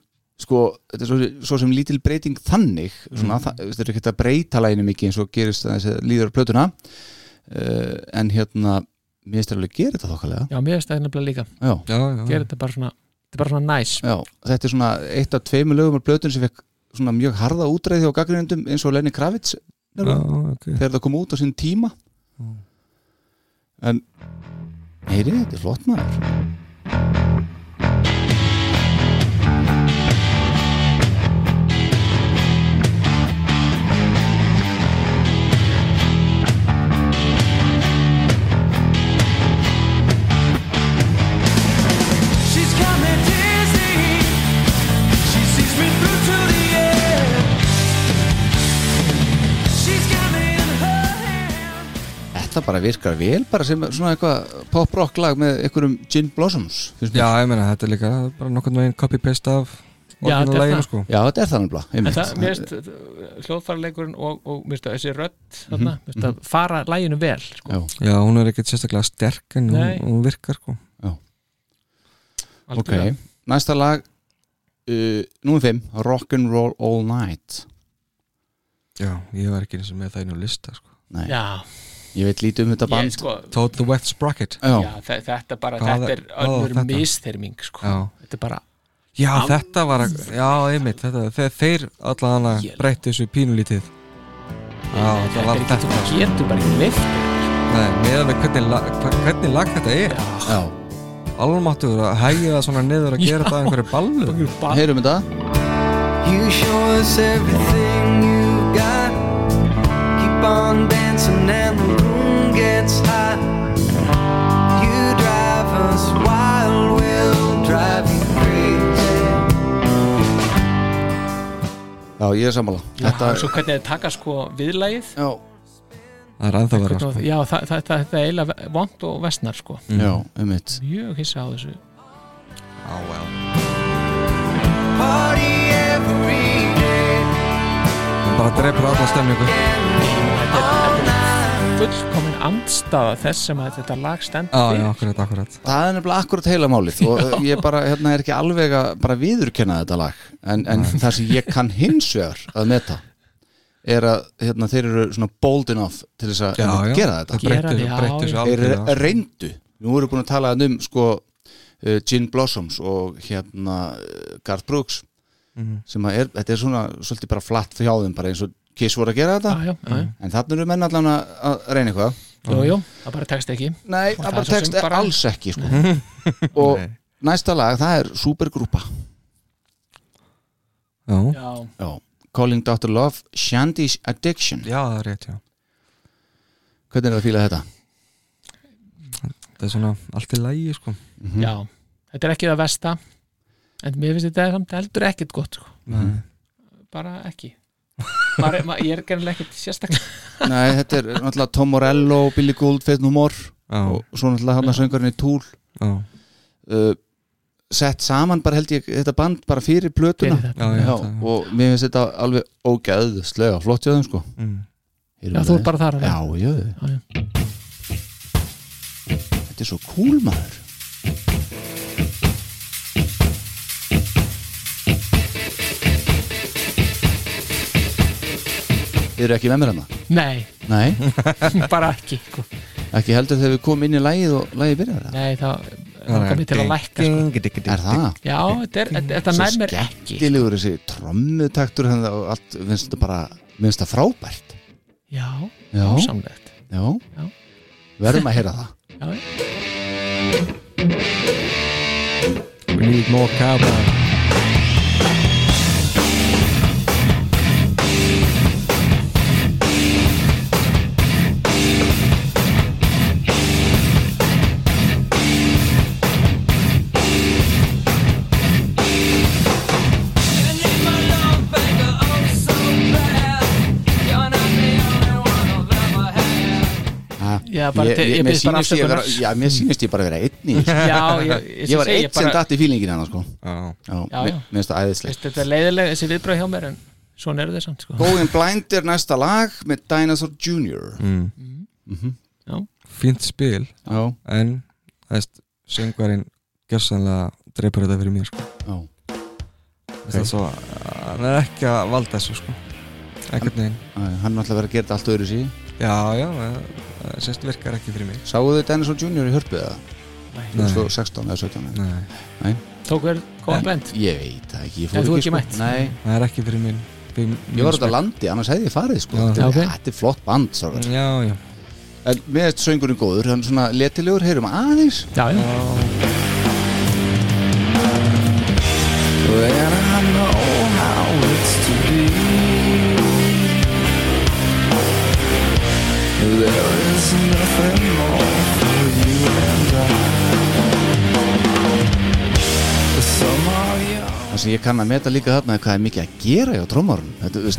Speaker 1: sko, þetta er svo, svo sem lítil breyting þannig, svona, mm. það, þetta er ekki að breyta læginu mikið eins og gerist að þessi líður á plötuna uh, en hérna, mér finnst þér alveg að gera þetta þokkalega,
Speaker 3: já, mér finnst það nefnilega líka
Speaker 1: já,
Speaker 2: já, já,
Speaker 3: gera þetta bara svona, þetta er bara svona næs
Speaker 1: já þetta er svona eitt af tveimur lögum á plötun sem fekk svona mjög harða útreiði á gaggrindum eins og Lenny Kravitz
Speaker 2: já,
Speaker 1: nefnilega,
Speaker 2: ok
Speaker 1: þegar það kom út á sín tíma en heyri, þetta er flott maður
Speaker 6: She's got me dizzy. She sees me through to the end. She's got me in her hand.
Speaker 1: Þetta bara virkar vel, bara sem svona eitthvað pop-rock lag með einhverjum Gin Blossoms finnst mér.
Speaker 2: Já, ég meina, þetta er líka bara nokkurn veginn copy-paste af
Speaker 3: Já, þetta er
Speaker 2: orginalleginu,
Speaker 3: það.
Speaker 2: sko.
Speaker 1: Já, þetta er það nefnilega
Speaker 3: en
Speaker 1: einmitt.
Speaker 3: það, mér finnst hljóðfæraleikurinn og, og mér finnst það, þessi rödd þarna, mér finnst það fara læginu vel sko,
Speaker 1: Já.
Speaker 2: Já, hún er ekkert sérstaklega sterk en hún,
Speaker 3: Nei.
Speaker 2: hún virkar, sko.
Speaker 1: Ok,
Speaker 3: algjörlega.
Speaker 1: næsta lag uh, Númer 5, Rock'n'Roll All Night
Speaker 2: Já, ég var ekki eins og með það inn á lista, sko.
Speaker 1: Nei,
Speaker 3: Já,
Speaker 1: ég veit lítið um þetta
Speaker 3: ég,
Speaker 1: band
Speaker 3: sko,
Speaker 2: Toad the Wet Sprocket.
Speaker 1: Já,
Speaker 3: já, þe- þetta bara
Speaker 2: Hvað-
Speaker 3: þetta er
Speaker 2: hvað var
Speaker 3: önnur
Speaker 2: þetta?
Speaker 3: misþyrming sko.
Speaker 2: Já.
Speaker 3: þetta er bara,
Speaker 2: Já, þetta var, að- já, einmitt, þetta, þeir, þeir allan að
Speaker 3: Él.
Speaker 2: breytta þessu pínulítið. Já, þetta
Speaker 3: þetta
Speaker 2: var
Speaker 3: er ekki,
Speaker 2: þetta.
Speaker 3: þú getur bara ekki lift
Speaker 2: Nei, meðan við hvernig, lag- hva- hvernig lag þetta er.
Speaker 1: já,
Speaker 2: Almáttur að hægja það svona niður að gera þetta að einhverju ballu.
Speaker 1: heyrum þetta
Speaker 9: You show us everything you got. Keep on dancing and the room gets hot. You drive us wild, we'll drive you crazy.
Speaker 1: Já, ég er sammála
Speaker 3: Já,
Speaker 1: Þetta
Speaker 3: og svo hvernig þið taka sko viðlægið
Speaker 1: Já,
Speaker 2: Það er ennþá vera, sko.
Speaker 3: hvernig, já, það, það, það, það er eiginlega vond og vestnar sko
Speaker 1: já, einmitt
Speaker 3: mjög hissa á þessu
Speaker 2: Á, já.
Speaker 9: Party every day
Speaker 2: Bara dreipur alla stemningu.
Speaker 3: fullkomin andstaða þess sem að þetta lag stendur
Speaker 2: Já,
Speaker 3: fyrir.
Speaker 2: já, akkurat, akkurat.
Speaker 1: Það er nefnilega akkurat heila málið og uh, ég bara, hérna er ekki alveg að bara viðurkenna þetta lag en, en það sem ég kann hins vegar að meta er að hérna, þeir eru svona bold enough til þess að
Speaker 2: Já, já.
Speaker 1: einmitt gera þetta
Speaker 2: Þeir breyttu-
Speaker 3: Gera þetta, já,
Speaker 2: breyttu
Speaker 3: já.
Speaker 2: þessu
Speaker 1: þeir
Speaker 2: algjörlega. sko.
Speaker 1: reyndu nú erum við búin að tala um sko uh, Gin Blossoms og hérna uh, Garth Brooks
Speaker 3: Mhm.
Speaker 1: sem að er, þetta er svona svolítið bara flatt hjá þeim bara eins og Kiss voru að gera þetta
Speaker 3: Ah, já, já, já, já.
Speaker 1: en þarna eru menn allan að, að reyna eitthvað
Speaker 3: Jú, jú, það bara tekst ekki
Speaker 1: nei,
Speaker 3: Og
Speaker 1: það
Speaker 3: það
Speaker 1: bara
Speaker 3: er svo
Speaker 1: tekst
Speaker 3: sem bara-
Speaker 1: alls ekki sko.
Speaker 3: (laughs)
Speaker 1: og næsta lag það er Supergrúpa
Speaker 2: Já,
Speaker 3: já,
Speaker 1: Já. Calling Dr. Love, Shandy's Addiction
Speaker 2: já, það er rétt, já.
Speaker 1: hvernig er það að fíla þetta?
Speaker 2: Þetta er svona allt í lægi, sko.
Speaker 3: já, þetta er ekki það vesta en mér finnst þetta samt heldur ekkit gott sko.
Speaker 2: Nei.
Speaker 3: bara ekki Maður, er- maður, ég er gerðilega ekkit sérstaklega
Speaker 1: nei, þetta er náttúrulega Tom Morello, Billy Gould, Faith No More
Speaker 2: Já,
Speaker 1: og svo náttúrulega hann að söngurinn í Tool
Speaker 2: já,
Speaker 1: uh, sett saman bara held ég þetta band bara fyrir plötuna
Speaker 3: fyrir þetta.
Speaker 2: já, já.
Speaker 1: Já,
Speaker 2: það-
Speaker 1: og mér finnst þetta alveg ógæðslega flott hjá þeim sko
Speaker 2: mm.
Speaker 1: Heyrum við
Speaker 3: Já, þú
Speaker 1: það?
Speaker 3: ert bara þar að
Speaker 1: Já,
Speaker 3: það.
Speaker 1: já,
Speaker 3: Já, já.
Speaker 1: þetta er svo cool maður Þið eru ekki með mér hérna? hann
Speaker 3: Nei, (laughs)
Speaker 1: Nei,
Speaker 3: bara ekki sko.
Speaker 1: (laughs) ekki heldur þegar við komum inn í lægið og lægið byrjar það
Speaker 3: Nei, það langar mér til að lækka sko.
Speaker 2: sko.
Speaker 1: Er það?
Speaker 3: Já, þetta, er, þetta- þetta
Speaker 1: Svo
Speaker 3: nær mér ekki
Speaker 1: Dýlugur þessi trommutaktur hann og allt, finnst þetta bara, finnst þetta frábært
Speaker 3: Já,
Speaker 1: Já.
Speaker 3: ásamlegt
Speaker 1: Já,
Speaker 3: Já.
Speaker 1: verðum að
Speaker 3: (laughs)
Speaker 1: heyra það
Speaker 3: Já, já.
Speaker 2: We need more cowboy
Speaker 1: Ha,
Speaker 3: Já, bara
Speaker 1: ég,
Speaker 3: til-
Speaker 1: ég,
Speaker 3: ég
Speaker 1: mér
Speaker 3: biðst bara
Speaker 1: sýnist ég vera,
Speaker 3: afsökunar.
Speaker 1: já, mér sýnist ég bara vera einn í þessu. (laughs)
Speaker 3: já, ég, ég,
Speaker 1: ég var
Speaker 3: segi,
Speaker 1: einn sem
Speaker 3: bara-
Speaker 1: datt í fílingin hennar sko
Speaker 2: Já,
Speaker 1: já,
Speaker 3: Já,
Speaker 1: mér
Speaker 3: já.
Speaker 1: mér finnst það æðislegt
Speaker 3: veist, Þetta er leiðilega þessi viðbröð hjá mér en svona eru þeir samt sko.
Speaker 1: Going Blind er næsta lag með Dinosaur Junior
Speaker 2: Mm. Mhm. fínt spil
Speaker 1: já,
Speaker 2: en það veist, söngvarinn gersanlega dreipur þetta fyrir mér sko.
Speaker 1: já,
Speaker 2: okay. það svo, hann er ekki að valda þessu sko ekkert neginn
Speaker 1: Æ, hann er alltaf verið að gera þetta allt öðru sí
Speaker 2: já, já, það- það sérst virkar ekki fyrir mig
Speaker 1: Sáu þau Dinosaur Jr. í hörpu eða?
Speaker 2: Nei.
Speaker 1: 2016 eða 17
Speaker 2: Nei,
Speaker 3: Tók vel góðan blend
Speaker 1: Ég veit það ekki, ég
Speaker 3: En þú
Speaker 1: sko.
Speaker 3: ekki mætt?
Speaker 1: Nei,
Speaker 2: það er ekki fyrir minn
Speaker 1: ég
Speaker 2: fyrir mín
Speaker 1: var út á
Speaker 2: smekk.
Speaker 1: landi, annars hefði ég farið sko.
Speaker 2: Já.
Speaker 1: Þetta
Speaker 3: Já,
Speaker 1: er-
Speaker 3: ok.
Speaker 1: þetta er flott band sárar.
Speaker 2: já, já,
Speaker 1: En mér veist söngurinn góður, hann er svona letilegur, heyrum aðeins
Speaker 3: Já, já,
Speaker 9: Well, I know how it's to be. There is nothing more for you and I. Some are young.
Speaker 1: Það sem ég kann að meta líka þarna er hvað er mikið að gera hjá trómarunum Þetta, þú veist,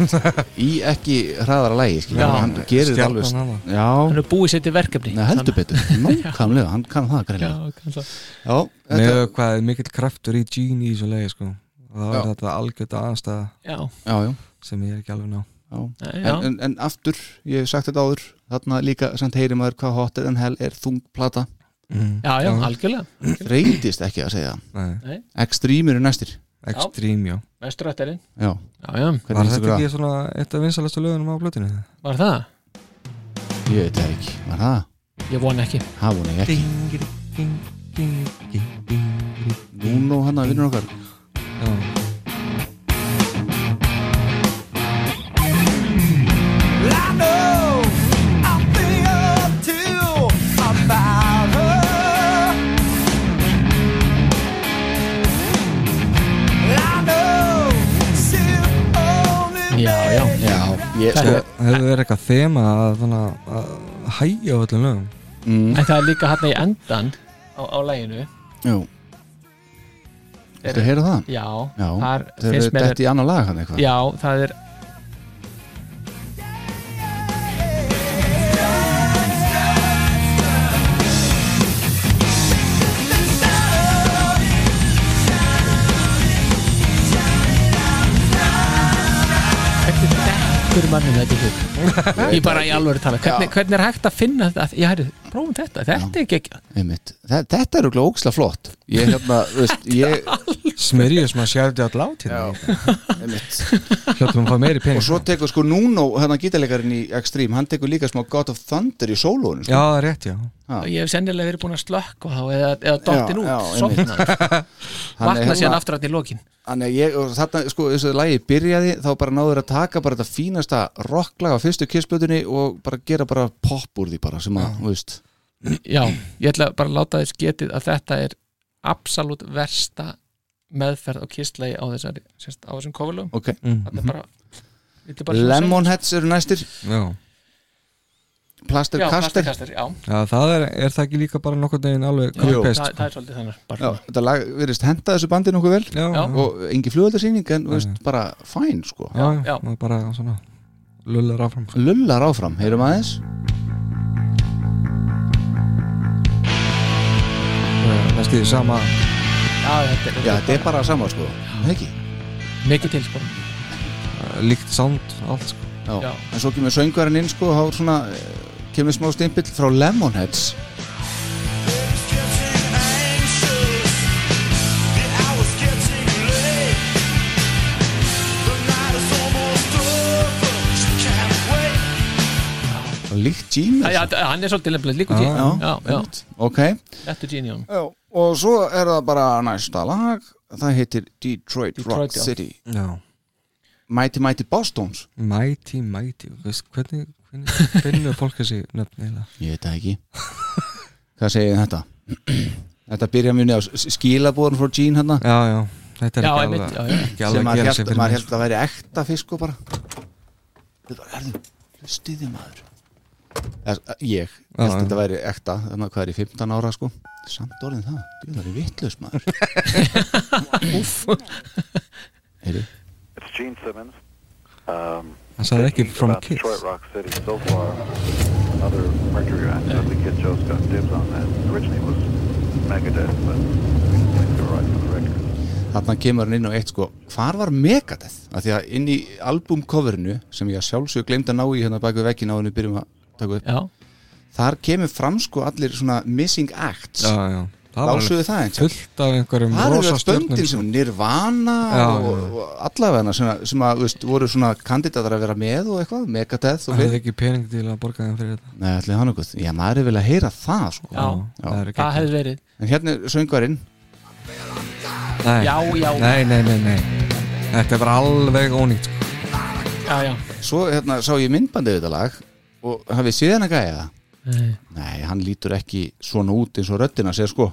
Speaker 1: í ekki hraðara lægi, skilja,
Speaker 3: Já.
Speaker 1: hann gerir þetta
Speaker 2: Stjarnan
Speaker 1: alveg
Speaker 2: hana.
Speaker 1: Já,
Speaker 3: hann er búið sér til verkefni
Speaker 1: Nei, heldur
Speaker 3: Þannig-
Speaker 1: betur, nákvæmlega, hann kann það
Speaker 3: Já,
Speaker 1: greinlega
Speaker 3: kannski.
Speaker 1: Já,
Speaker 2: með
Speaker 1: þetta,
Speaker 2: hvað er mikill kraftur í Gene í þessu legi sko þá er
Speaker 1: Já.
Speaker 2: þetta algjörða aðstæða
Speaker 3: já,
Speaker 1: já, já,
Speaker 2: sem ég er ekki alveg ná
Speaker 1: já.
Speaker 3: nei, já.
Speaker 1: En, en, en aftur, ég hef sagt þetta áður þarna líka, samt heyri maður hvað hotter en hell er þungplata,
Speaker 2: mm.
Speaker 3: já, já, algjörlega
Speaker 1: reyndist ekki að segja
Speaker 2: Nei,
Speaker 1: Extreme eru næstir
Speaker 2: Extreme, já
Speaker 3: Vesturættarinn
Speaker 1: Já,
Speaker 3: Já, já,
Speaker 2: Var
Speaker 1: hvernig finnst
Speaker 2: þetta
Speaker 1: ykkur
Speaker 2: ekki svona eitt af vinsalastu lögunum á blötinu?
Speaker 3: var það?
Speaker 1: það? Ég veit það ekki, var það?
Speaker 3: Ég vona ekki
Speaker 1: Það vona ég ekki Núna og hann að vinnur okkar
Speaker 2: Já,
Speaker 9: I know I feel too about her. I know she only
Speaker 3: Já, já,
Speaker 1: Já, ég
Speaker 3: Þetta-
Speaker 1: sko
Speaker 2: það hefur verið eitthvað þema að, þannig að- að hægja á öllum lögum
Speaker 1: mm,
Speaker 3: En það er líka hann í endan á, á læginu
Speaker 1: sko, Jú Þetta heyra það?
Speaker 3: Já,
Speaker 1: Já,
Speaker 3: þar
Speaker 1: þau eru
Speaker 3: finnst mér
Speaker 1: dætt í annar lag hann eitthvað
Speaker 3: Já, það er Hvernig dettur manni þetta í
Speaker 1: (laughs)
Speaker 3: hug? Ég bara í alvöru tala hvernig, hvernig er hægt að finna þetta? Ég hæri, prófum þetta, þetta er ekki
Speaker 1: Einmitt. Þa, Þetta er okkur óksla flott Ég hérna, þú veist, ég
Speaker 2: Smyrjus maður sérði all lát hérna
Speaker 1: einmitt.
Speaker 2: Hljóttum að fá meiri pening
Speaker 1: Og svo tekur sko Nuno, hérna gítalegarinn í Extreme Hann tekur líka smá God of Thunder í sko. sólónu
Speaker 2: Já, það er rétt, já
Speaker 3: Ég hef sennilega verið búin að slökk og þá eða, eða
Speaker 1: Já,
Speaker 3: dottin út,
Speaker 1: já, einmitt. hérna-
Speaker 3: sofnað Vakna síðan aftur hann í lokin
Speaker 1: Þannig að ég, og þarna, sko, þessu lagi byrjaði þá bara náður að taka bara þetta fínasta rocklag á fyrstu kissblötunni og bara gera bara pop úr því bara sem að, þú veist
Speaker 3: Já, ég ætla bara að láta þess getið að þetta er absolutt versta meðferð og kistlegi á þessari sérst, á þessum kofilum
Speaker 1: Ok,
Speaker 3: þetta
Speaker 2: Mhm.
Speaker 3: er bara, þetta er bara
Speaker 1: Lemonheads eru næstir
Speaker 2: Já,
Speaker 1: Plaster
Speaker 3: Já,
Speaker 1: Caster
Speaker 3: plastikastir, já,
Speaker 2: já það er, er það ekki líka bara nokkurn veginn alveg
Speaker 3: já það,
Speaker 2: copy-paste,
Speaker 3: það er svolítið þannig
Speaker 1: Já,
Speaker 3: bara,
Speaker 1: þetta lag virðist henda þessu bandi nokkuð vel
Speaker 2: sko. Já,
Speaker 3: Já.
Speaker 2: já,
Speaker 1: og engi flugöldarsýning en, þú veist, bara fæn, sko
Speaker 2: já,
Speaker 3: já.
Speaker 2: já. maður bara svona lullar áfram sko.
Speaker 1: Lullar áfram, heyrum aðeins
Speaker 2: Næstu því sama
Speaker 3: já, þetta er,
Speaker 1: Já, þetta er bara sama, sko Nei, Ekki?
Speaker 3: mikið til sko.
Speaker 2: eh, líkt sound allt sko.
Speaker 1: Já.
Speaker 3: Já.
Speaker 1: En svo kemur söngvarinn inn, sko þá svona, eh, kemur smá stimpill frá Lemonheads og líkt Gene
Speaker 3: já, já, hann er svolítið lefnilega líku
Speaker 2: Já,
Speaker 3: til
Speaker 1: já,
Speaker 3: já, já,
Speaker 1: Ok,
Speaker 3: þetta er Genion
Speaker 1: já, og svo er það bara næsta lag það heitir Detroit, Rock
Speaker 3: Detroit, já.
Speaker 1: City
Speaker 2: Já,
Speaker 1: Mighty Mighty Boston's
Speaker 2: mighty, mighty Veist, Hvernig, hvernig finnur fólk þessi nöfn eiginlega?
Speaker 1: Ég veit það ekki (laughs) Hvað segir um þetta? (clears throat) þetta byrja mjög neða skilabóðan frá Gene hérna
Speaker 2: Já, já, þetta er
Speaker 3: Já,
Speaker 2: ekki
Speaker 3: einmitt,
Speaker 2: alveg,
Speaker 3: já, já.
Speaker 2: ekki
Speaker 1: sem
Speaker 2: alveg að
Speaker 1: maður
Speaker 2: gera sig
Speaker 1: held,
Speaker 2: fyrir
Speaker 1: maður
Speaker 2: mig,
Speaker 1: held að væri ekta fisk og bara þau bara erðu hlustiði maður Er, ég held
Speaker 2: já.
Speaker 1: að þetta væri ekta þannig að hvað er í 15 ára sko samt orðin það, Djú, það er vitlaus
Speaker 2: (laughs)
Speaker 1: maður Heyri,
Speaker 10: It's Gene Simmons. Um,
Speaker 2: sko. Hann sagði ekki
Speaker 10: thinking
Speaker 2: from
Speaker 10: about
Speaker 2: kids
Speaker 10: Detroit Rock City so far. Another Mercury act. I think Kid Joe's got dibs on that. Originally it was Megadeth, but I think they were right for the record.
Speaker 1: þarna kemur hann inn á eitt sko hvar var Megadeth? Af því að inn í albumcoverinu sem ég að sjálfsög glemd að ná í hérna bak við vekkin á hennu byrjum að taka upp
Speaker 3: já,
Speaker 1: þar kemur fram sko allir svona missing acts
Speaker 2: Já, já, Það var
Speaker 1: Lásuðu
Speaker 2: alveg
Speaker 1: það einhvern?
Speaker 2: fullt af einhverjum
Speaker 1: það eru
Speaker 2: rosa
Speaker 1: öll böndin
Speaker 2: stjörnum
Speaker 1: sem Nirvana
Speaker 2: Já,
Speaker 1: og,
Speaker 2: já.
Speaker 1: og allavegna sem, sem að, veist, voru svona kandidatar að vera með og eitthvað, Megadeth og
Speaker 2: Það hefði
Speaker 1: við
Speaker 2: ekki pening til að borga þeim fyrir þetta
Speaker 1: Nei, ætli hann okkur, já maður er vel að heyra það sko.
Speaker 3: Já,
Speaker 1: það er
Speaker 3: það hefði verið
Speaker 1: En hérna er söngarinn
Speaker 2: Nei.
Speaker 3: Já, já.
Speaker 2: Nei, nei, nei, nei Þetta er bara alveg ónýtt sko.
Speaker 3: Já, já,
Speaker 1: Svo hérna sá ég myndbandið við þetta lag og hafið síðan að gæja það
Speaker 3: Nei.
Speaker 1: Nei, hann lítur ekki svona út eins og röddina segir sko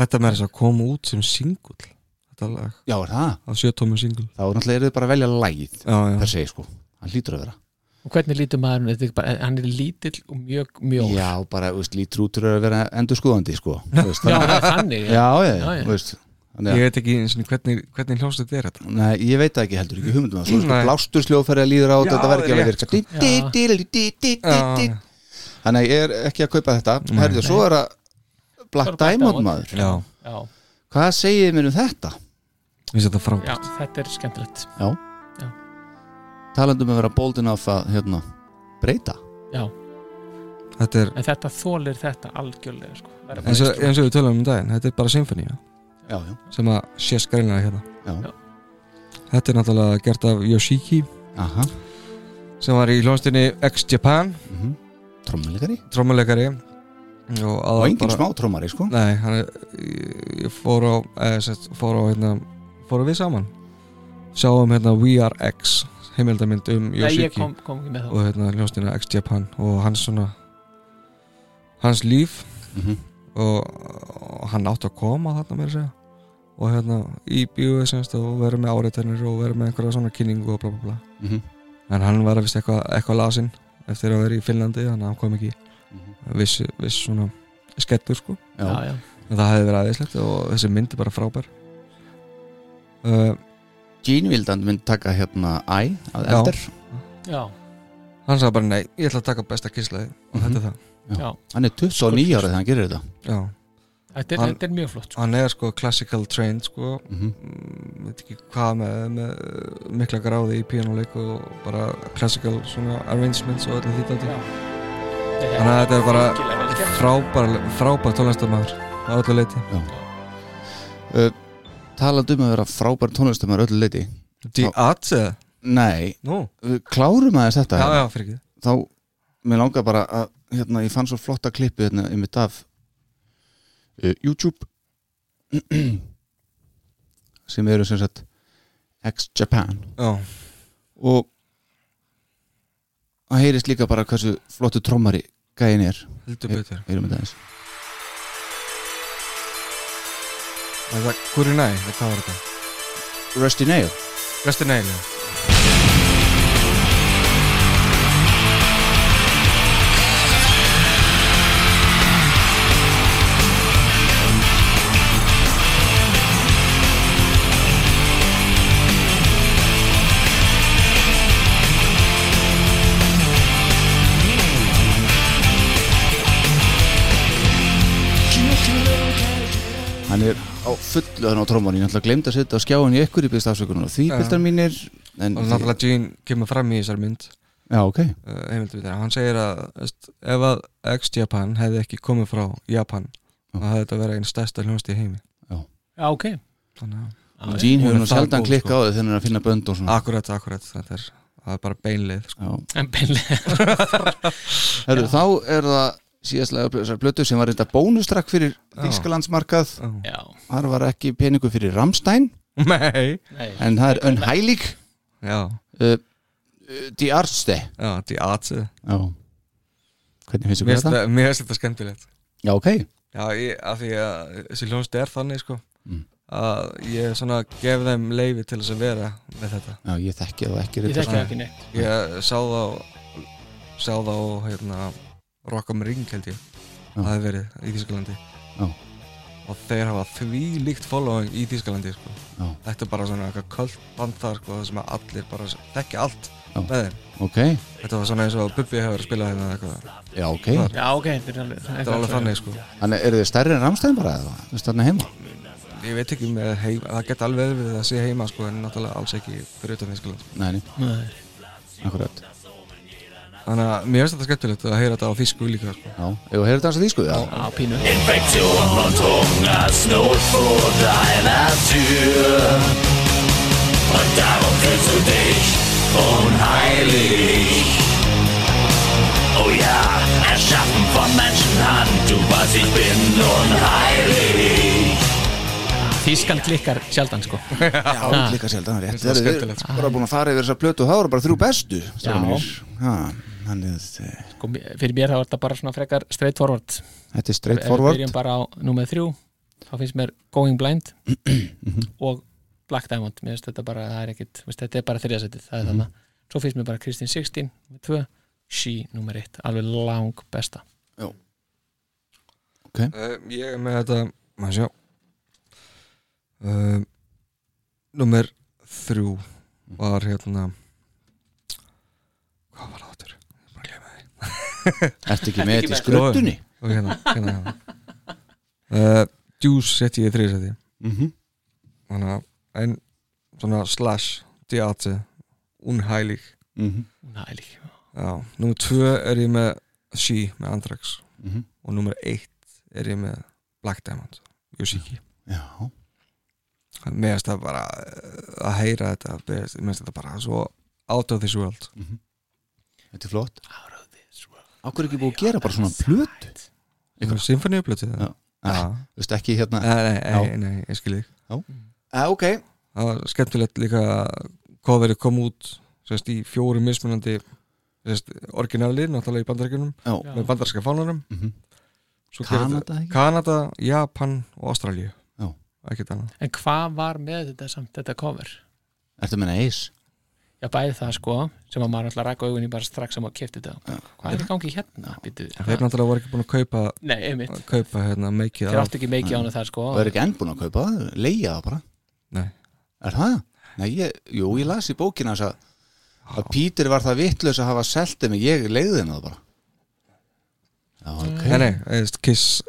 Speaker 2: Þetta með þess að koma út sem singull Þetta lag,
Speaker 1: Já, er það?
Speaker 2: á sjötómi singull
Speaker 1: Þá er náttúrulega eruð bara að velja lagið
Speaker 2: Já, já,
Speaker 1: Það segir sko, hann lítur að vera
Speaker 3: og hvernig lítur maður þetta er bara, hann er lítill og mjög mjór
Speaker 1: Já, bara, veist, lítur út að vera endur skoðandi sko Þú veist,
Speaker 3: Já,
Speaker 1: þannig-
Speaker 3: það er þannig
Speaker 1: Já, já,
Speaker 3: Já, já.
Speaker 1: já, veist Þannig
Speaker 2: ég
Speaker 1: að,
Speaker 2: veit ekki einu sinni hvernig, hvernig hljóst þetta er þetta
Speaker 1: nei, ég veit það ekki heldur ekki hugmyndum að svo sko,
Speaker 2: Nei.
Speaker 1: blástur sljóðfæri að líður á
Speaker 2: Já,
Speaker 1: þetta verður ekki
Speaker 2: rétt,
Speaker 1: alveg virka Dí,
Speaker 3: Já.
Speaker 1: dí, dí, dí, dí, dí, dí, dí.
Speaker 2: Já,
Speaker 1: Þannig að ég er ekki að kaupa þetta Herðu, svo er að
Speaker 3: Svo
Speaker 1: Black
Speaker 3: er Black
Speaker 1: Diamond
Speaker 3: Diamond.
Speaker 1: maður
Speaker 2: já,
Speaker 3: já,
Speaker 1: Hvað segið mér um þetta?
Speaker 2: ég finnst þetta frábært
Speaker 3: já, þetta er skemmtilegt
Speaker 1: Talandum um að vera boldin af að, hérna, breyta
Speaker 3: já,
Speaker 2: Þetta er,
Speaker 3: en þetta þólir þetta algjörlega sko. Verður
Speaker 2: eins og,
Speaker 3: bara-
Speaker 2: eins og við tölum um daginn Þetta er bara symfónía
Speaker 1: Já, já,
Speaker 2: sem að sé skrænlega hérna
Speaker 1: já,
Speaker 2: Þetta er náttúrulega gert af Yoshiki
Speaker 1: aha
Speaker 2: sem var í hljónstinni X-Japan
Speaker 1: mhm. Trommuleikari
Speaker 2: trommuleikari og,
Speaker 1: og
Speaker 2: aðal-
Speaker 1: engin
Speaker 2: bara-
Speaker 1: smá trommari sko
Speaker 2: Nei, hann er, ég- ég fór á, eða, sett, fór á hérna, fórum við saman Sjáum hérna We Are X heimildamind um
Speaker 3: Nei, ég
Speaker 2: Yoshiki
Speaker 3: kom, kom ekki með
Speaker 2: og
Speaker 3: það
Speaker 2: hérna hljóstina X Japan og hans svona hans líf
Speaker 1: Mhm.
Speaker 2: og, og hann átti að koma þarna meira að segja og hérna í bíóið semst og vera með áreitanir og vera með einhverja svona kynningu og bla bla bla
Speaker 1: Mhm.
Speaker 2: en hann var að vist eitthvað eitthva lasinn eftir að vera í Finnlandi þannig að hann kom ekki viss, viss svona skettur sko
Speaker 3: já,
Speaker 1: já,
Speaker 3: já,
Speaker 2: en það hefði verið aðeinslegt og þessi mynd er bara frábær uh,
Speaker 1: Gene Wildand mynd taka hérna æ að
Speaker 2: Já.
Speaker 1: eftir
Speaker 3: já,
Speaker 2: hann sagði bara nei, ég ætla að taka besta kyslaði og
Speaker 1: Mhm.
Speaker 2: þetta er það
Speaker 1: hann er 29 árið þegar hann gerir þetta
Speaker 2: Já.
Speaker 3: þetta er,
Speaker 2: Hann-
Speaker 3: þetta er mjög flott sko.
Speaker 2: hann er sko classical trained sko
Speaker 1: Mhm.
Speaker 2: Mm, veit ekki hvað með, með mikla gráði í píanuleik og bara classical svona arrangements og öllu því dæti
Speaker 3: Já. sko.
Speaker 2: þannig að þetta er bara
Speaker 3: Virkilega vel gert.
Speaker 2: frábær, frábær tónlistamæður á öllu leiti
Speaker 1: talandi um að vera frábær tónlistamæður öllu leiti
Speaker 2: The Arts eða?
Speaker 1: nei,
Speaker 2: Nú,
Speaker 1: við klárum aðeins þetta
Speaker 2: já
Speaker 1: hérna.
Speaker 2: já fyrir ekki
Speaker 1: þá, mér langar bara að hérna, ég fann svo flotta klippu hérna um mitt af uh, YouTube (clears throat) sem eru sem sagt X-Japan
Speaker 2: já,
Speaker 1: og það heyrist líka bara hversu flottu trommari gæin er
Speaker 2: heldur
Speaker 1: Ég-
Speaker 2: betur
Speaker 1: heyrum þetta aðeins
Speaker 2: Er það Kuri Næ, eða hvað var þetta?
Speaker 1: Rusty Nail
Speaker 2: Vestir Næ, já
Speaker 1: hann er á fullu hann á tromman ég náttúrulega glemd að setja á skjáin í ykkur í byggst afsökunar og því
Speaker 2: Já.
Speaker 1: bildar mínir en
Speaker 2: og náttúrulega Gene kemur fram í þessari mynd
Speaker 1: já ok
Speaker 2: uh, heimildu við hann segir að veist, ef að X-Japan hefði ekki komið frá Japan
Speaker 1: Já.
Speaker 2: þá hefði þetta verið einn stærsta hljónst í heimi
Speaker 3: já, ok
Speaker 2: þannig að
Speaker 1: Gene hefur
Speaker 2: Hún er
Speaker 1: nú
Speaker 2: það
Speaker 1: sjaldan
Speaker 2: góð,
Speaker 1: klikka
Speaker 2: sko.
Speaker 1: á þau þegar hann er að finna bönd og svona
Speaker 2: Akkurat, akkurat, þetta er, það er bara beinleið sko.
Speaker 1: já.
Speaker 3: en beinlega
Speaker 1: Herru, þá er það síðastlega þessar blötu sem var reynda bónustrakk fyrir Þýskalandsmarkað
Speaker 2: Já.
Speaker 3: já,
Speaker 1: þar var ekki peningu fyrir Rammstein
Speaker 2: (laughs) Nei
Speaker 3: nei,
Speaker 1: en það er Unheilig
Speaker 2: Já,
Speaker 1: uh, uh, Die Arste
Speaker 2: já, því aðsið
Speaker 1: já. hvernig finnst
Speaker 2: Mér
Speaker 1: þér
Speaker 2: finnst
Speaker 1: þetta?
Speaker 2: þetta- mér finnst þetta skemmtilegt
Speaker 1: já ok
Speaker 2: Já, ég, af því að þessi hljónst er þannig sko
Speaker 1: Mm.
Speaker 2: að ég svona gef þeim leifi til þess að vera með þetta
Speaker 1: já, ég þekki það ekki
Speaker 3: ég
Speaker 1: reyndar.
Speaker 3: þekki það ekki neitt
Speaker 2: Ég sá þá sá þá hérna Rock am Ring held ég
Speaker 1: Já.
Speaker 2: að það hefði verið í Þýskalandi
Speaker 1: Já.
Speaker 2: og þeir hafa því líkt following í Þýskalandi sko.
Speaker 1: Já.
Speaker 2: þetta er bara svona eitthvað kvöld band þar sko, það sem að allir bara þekki allt
Speaker 1: Já.
Speaker 2: með þeim
Speaker 1: ok
Speaker 2: Þetta var svona eins og Bubbi hefur spilað hérna eitthvað
Speaker 1: já ok
Speaker 2: Þar.
Speaker 3: já, ok, þetta er alveg
Speaker 2: Þetta er alveg þannig sko
Speaker 1: þannig eru þið stærri en Rammstein bara eða þú veist þarna heima
Speaker 2: Ég veit ekki með heima, það geta alveg verið að sé sko. heima sko En náttúrulega alls ekki fyrir utan Þýskaland
Speaker 1: nei, nei,
Speaker 3: Nei.
Speaker 1: akkurat
Speaker 2: Þannig að mér finnst þetta skemmtilegt að heyra þetta á þýsku líka sko.
Speaker 1: Já, hefur heyrt þetta á þýsku? Já,
Speaker 3: á pínu
Speaker 5: Infektion und Hungersnot vor deiner Tür. Und darum fühlst du dich unheilig. Oh ja, erschaffen von Menschenhand, du weißt, ich bin unheilig.
Speaker 3: Þískan klikkar sjaldan sko
Speaker 1: Já,
Speaker 3: Ha.
Speaker 1: líka sjálf, það er rétt
Speaker 2: Þetta er
Speaker 1: Þeir eru
Speaker 2: skemmtilegt, sko.
Speaker 1: bara búin að fara yfir þessa plötu og það voru bara þrjú bestu strákar
Speaker 3: Já.
Speaker 1: mínir. Ha, Þannig að eh,
Speaker 3: Sko, mér- fyrir mér þá er þetta bara svona frekar straight forward
Speaker 1: þetta er straight
Speaker 3: Ef við
Speaker 1: forward
Speaker 3: byrjum bara á númið þrjú þá finnst mér Going Blind
Speaker 2: Mhm.
Speaker 3: og Black Diamond mér finnst þetta bara, það er ekkit, veist, þetta er bara þriðasettið það er þarna,
Speaker 2: Mhm.
Speaker 3: svo finnst mér bara Kristín 16 númer 2, She númer 1 alveg lang besta
Speaker 2: uh, Ég er með þetta maður sjá uh, Númer þrjú var hérna Hvað var það áttur? Ég er bara að gleyma því
Speaker 1: Ertu ekki með þetta í
Speaker 2: með?
Speaker 1: skröttunni?
Speaker 2: Og hérna, hérna, hérna. Uh, Juice setti ég í þriðsæti
Speaker 1: Mhm.
Speaker 2: þannig að en svona slash diate unheilig
Speaker 1: Mhm.
Speaker 3: næli,
Speaker 2: já, nummer tvö er ég með She með Andrax
Speaker 1: Mhm.
Speaker 2: og nummer eitt er ég með Black Diamond Yoshiki
Speaker 1: Já,
Speaker 2: mér finnst það bara eh, að heyra þetta mér finnst- mér finnst þetta bara svo out of this world
Speaker 1: þetta er flott
Speaker 3: sko.
Speaker 1: Akkur er ekki búið að gera bara svona plötu?
Speaker 2: eitthvað symfóniuplötið
Speaker 1: Já. Þú veist ekki hérna
Speaker 3: Eh,
Speaker 1: Já,
Speaker 2: nei, nei,
Speaker 1: Já.
Speaker 2: nei, nei, ég skil þig
Speaker 1: ok
Speaker 2: það var skemmtilegt líka hvað verið kom út sérst, í fjórum mismunandi sérst, orginali, náttúrulega í bandaríkjunum
Speaker 1: Já.
Speaker 2: með bandaríska fánunum
Speaker 1: Mhm.
Speaker 2: Svo gerði
Speaker 1: Kanada
Speaker 2: þetta-
Speaker 1: ekki?
Speaker 2: Kanada, Japan og Ástralíu
Speaker 1: Já.
Speaker 2: ekkert annað
Speaker 3: en hvað var með þetta samt, þetta cover?
Speaker 1: Ertu að menna eis?
Speaker 3: Já, bæði það sko, sem að maður alltaf raka augun í bara strax sem að kefti þetta hvað er í gangi hérna? Býtu,
Speaker 2: þeir náttúrulega voru ekki búin að kaupa,
Speaker 3: nei, einmitt,
Speaker 2: kaupa hérna, make it
Speaker 3: þeir
Speaker 2: out
Speaker 3: áttu ekki meikið ána það sko
Speaker 1: Og er ekki enn búin að kaupa það? Leia það bara?
Speaker 2: Nei.
Speaker 1: Er það? Nei, ég, jú, ég las í bókina þess að, að Pítur var það vittlaus að hafa selt þeim en ég leiði þeim það bara Já,
Speaker 3: Mm.
Speaker 1: ok
Speaker 2: nei, nei, eðst, Kiss,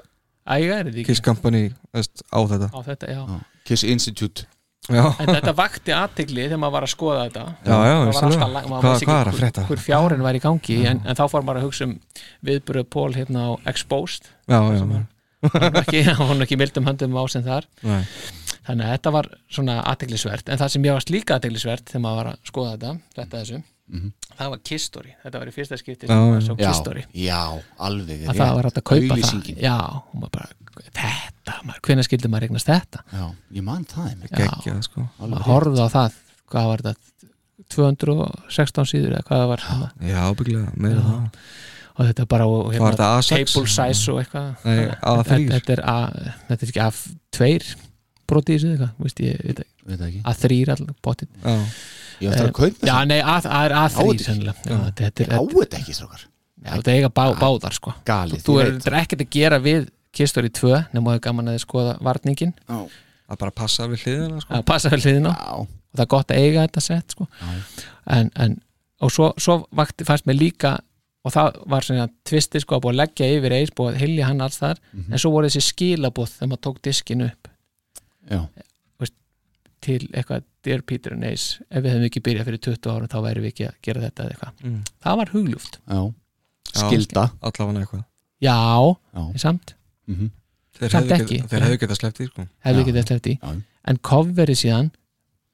Speaker 3: æga er þetta
Speaker 2: Kiss
Speaker 3: ekki
Speaker 2: Company eðst, á þetta
Speaker 3: á þetta, já
Speaker 1: Já, Kiss Institute
Speaker 2: já,
Speaker 3: en þetta vakti aðtegli þegar maður var að skoða þetta
Speaker 2: já, já,
Speaker 3: Það var
Speaker 2: vissulega.
Speaker 3: alltaf lang-
Speaker 2: Hvað-
Speaker 3: maður vissi ekki
Speaker 2: hvað er að
Speaker 3: hver-
Speaker 2: frétta
Speaker 3: hver fjárinn var í gangi en, en þá fór maður að hugsa um viðbröð Pól hérna á Exposed
Speaker 2: já, já,
Speaker 3: sem
Speaker 2: já,
Speaker 3: að- hann var ekki, hann var ekki mildum höndum á sem þar
Speaker 2: Nei.
Speaker 3: þannig að þetta var svona aðteglisvert en það sem ég varst líka aðteglisvert þegar maður var að skoða þetta, þetta þessu það var Kiss Story, þetta var í fyrsta skipti sem
Speaker 2: Mhm. Já,
Speaker 3: maður sá
Speaker 1: Já,
Speaker 3: Kiss Story
Speaker 1: já, alveg
Speaker 3: að það var hægt að kaupa
Speaker 1: Auglýsingin.
Speaker 3: það já, og maður bara, þetta maður, hvenær skildi maður eignast þetta
Speaker 1: Já, ég man það einmitt
Speaker 2: geggjað sko
Speaker 3: maður horfði á það, hvað var þetta 216 síður eða hvað það var hérna.
Speaker 2: já, bygglega, meira
Speaker 3: Já.
Speaker 2: það
Speaker 3: og þetta er bara og, hérna,
Speaker 2: Var þetta A6?
Speaker 3: table size og eitthvað
Speaker 2: Nei, A3.
Speaker 3: Þetta- þetta er, A, þetta er ekki A2 brotið í þessu eða eitthvað veist ég, veit ekki.
Speaker 1: Veit það ekki
Speaker 3: A3 allir bóttið
Speaker 2: já,
Speaker 1: Ég ætti að kaupa
Speaker 3: já Eh,
Speaker 1: það
Speaker 3: nei A, A, er
Speaker 1: Á
Speaker 3: A3
Speaker 1: þetta
Speaker 3: sennilega já,
Speaker 2: Já.
Speaker 3: þetta, þetta,
Speaker 1: Ég á
Speaker 3: þetta,
Speaker 1: þetta ekki, strókar
Speaker 3: já, þetta eiga bá, báðar sko
Speaker 1: Galið,
Speaker 3: þú
Speaker 1: ég
Speaker 3: er
Speaker 1: veit.
Speaker 3: þetta er ekkert að gera við kistur í 2 nema þú er gaman að þið skoða varningin
Speaker 1: Já,
Speaker 2: að bara passa við hliðina sko
Speaker 3: að passa vel hliðina
Speaker 1: já,
Speaker 3: og það er gott að eiga þetta sett sko. en, en, og svo, svo vakti, fannst mér líka og það var svona tvisti sko að búið að leggja yfir eis, búið að hylja hann alls þar
Speaker 1: Mhm.
Speaker 3: en svo voru þessi skilabóð þegar maður tók diskin upp
Speaker 1: já
Speaker 3: til eitthvað Dear Peter and Ace ef við hefum ekki byrjað fyrir 20 árum þá væri við ekki að gera þetta eða eitthvað
Speaker 2: Mm.
Speaker 3: það var hugljúft,
Speaker 1: Já,
Speaker 2: Já.
Speaker 1: skilda
Speaker 2: allavega eitthvað
Speaker 3: já,
Speaker 1: Já.
Speaker 3: en samt
Speaker 1: Mhm.
Speaker 2: þeir
Speaker 3: Samt
Speaker 2: hefðu
Speaker 3: ekki.
Speaker 2: geta- þeir hefðu getað sleppt í sko
Speaker 3: hefði
Speaker 1: Já.
Speaker 3: ekki þetta eftir
Speaker 1: Já.
Speaker 3: en coverið síðan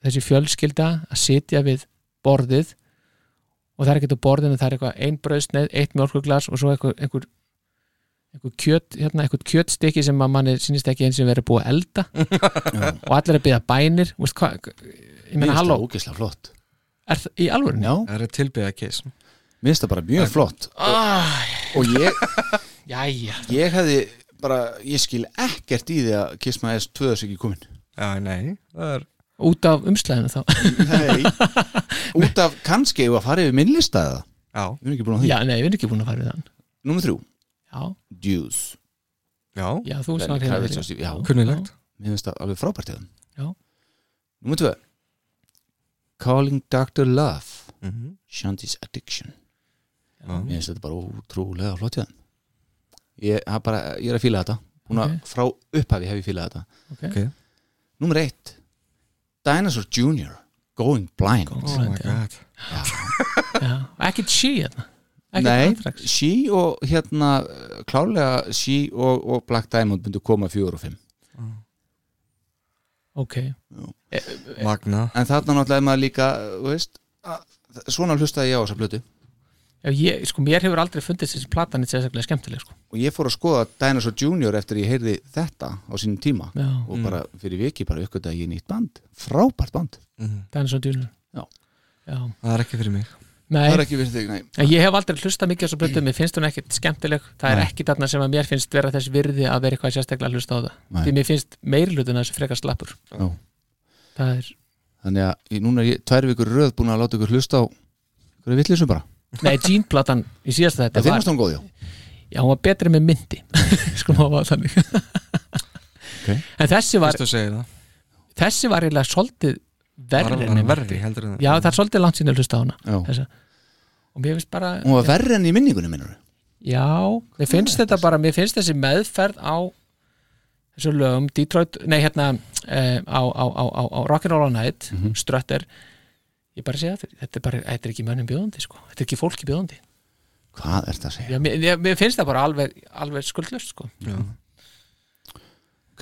Speaker 3: þessi fjölskylda að sitja við borðið og það er ekkert á borðinu, það er eitthvað ein brauðsneið, eitt mjölkuglas og svo einhver, einhver, einhver kjöt, hérna, einhver kjötstykki sem að manni sínist ekki eins og verið búið að
Speaker 1: (laughs)
Speaker 3: elda og allir að byrja bænir Vist, hva, ég
Speaker 1: Mér
Speaker 3: meina,
Speaker 1: finnst það
Speaker 3: halló,
Speaker 1: ógeðslega flott
Speaker 3: er það í alvöru?
Speaker 1: Já,
Speaker 2: það er tilbyggða kiss
Speaker 1: mér finnst það bara mjög flott
Speaker 3: Ah,
Speaker 1: Og ég,
Speaker 3: jæja,
Speaker 1: ég hefði bara, ég skil ekkert í því að Kiss My Ass 2 er ekki komin
Speaker 2: já, nei, það er
Speaker 3: út af umslæðinu þá (laughs)
Speaker 1: Nei, (laughs) út af kannski ef að fara yfir minn lista eða
Speaker 2: já,
Speaker 1: Við erum ekki búin að því
Speaker 3: Já, nei, við erum ekki búin að fara við þann
Speaker 1: Númer þrjú,
Speaker 3: Já,
Speaker 1: Deuce
Speaker 2: já,
Speaker 3: já, þú
Speaker 1: Lenny
Speaker 3: snar hérna
Speaker 1: Kravitz og
Speaker 3: fyrir.
Speaker 1: Steve- já.
Speaker 2: kunnilegt
Speaker 1: Mér finnst það alveg frábært í
Speaker 3: Já.
Speaker 1: það Númer tvö Calling Dr. Love
Speaker 2: mm -hmm.
Speaker 1: Shanty's Addiction
Speaker 2: Já.
Speaker 1: Mér finnst þetta bara ótrúlega flott í það Ég, það er bara, ég er að fíla þetta Búin að
Speaker 3: Ok.
Speaker 1: frá upphafi hef ég fílað þetta
Speaker 2: ok,
Speaker 1: Númer eitt Dinosaur Jr. Going Blind
Speaker 2: oh my god
Speaker 3: Já, Ekkert sí hérna Ekkert
Speaker 1: Nei,
Speaker 3: Anthrax.
Speaker 1: She og hérna eh, klárlega She og, og Black Diamond myndu koma fjögur og fimm
Speaker 3: ok
Speaker 2: Magna
Speaker 1: En þarna náttúrulega er maður líka þú veist, að- svona hlustaði ég á þessa blötu
Speaker 3: Ef ég, sko, mér hefur aldrei fundist þessi platan í sérstaklega skemmtileg sko.
Speaker 1: og ég fór að skoða Dinosaur Junior eftir ég heyrði þetta á sínum tíma
Speaker 3: Já.
Speaker 1: og bara fyrir viki bara uppgötta að ég nýtt band frábært band
Speaker 3: Dinosaur Junior
Speaker 1: Já.
Speaker 3: Já.
Speaker 2: Mhm. það er ekki fyrir mig
Speaker 3: Nei,
Speaker 1: það er ekki virðið, nei
Speaker 3: en ég hef aldrei hlustað mikið á þessu plötu, mér finnst hún ekkert skemmtileg það er
Speaker 1: Nei.
Speaker 3: ekki þarna sem að mér finnst vera þess virði að vera eitthvað sérstaklega að hlusta á það
Speaker 1: Nei.
Speaker 3: því mér finnst meirlutin að þessu frekar slappur
Speaker 1: Já.
Speaker 3: það er,
Speaker 1: þannig að ég, núna er ég tvær vikur röð búin að láta ykkur hlusta á ykkur vittlisum bara
Speaker 3: nei, Gene platan í síðasta þetta
Speaker 1: það finnast hún góð, já
Speaker 3: já, hún var betri með myndi (laughs) sko, hún var þannig
Speaker 1: Ok.
Speaker 3: en þessi var,
Speaker 2: Fyrst að segja það
Speaker 3: þessi var eiginlega svolítið verri,
Speaker 2: Var
Speaker 3: en
Speaker 2: hann
Speaker 3: ég-
Speaker 2: verri heldur en
Speaker 3: já, það er svolítið langt sín að hlusta á hana
Speaker 1: Já.
Speaker 3: þessa. og mér finnst bara
Speaker 1: hún var verri enn í minningunum minnur
Speaker 3: Já, mér finnst þetta bara, mér finnst þessi meðferð á þessu lögum Detroit, nei hérna eh, á, á, á, á, á Rock'n'Roll Night
Speaker 1: Mhm.
Speaker 3: mm Strutter ég bara segja þetta, þetta er bara, þetta er ekki mönnum bjóðandi sko. þetta er ekki fólki bjóðandi
Speaker 1: hvað er þetta að segja?
Speaker 3: Já, mér, ég, mér finnst það bara alveg, alveg skuldlust sko.
Speaker 2: Já.
Speaker 1: Ok.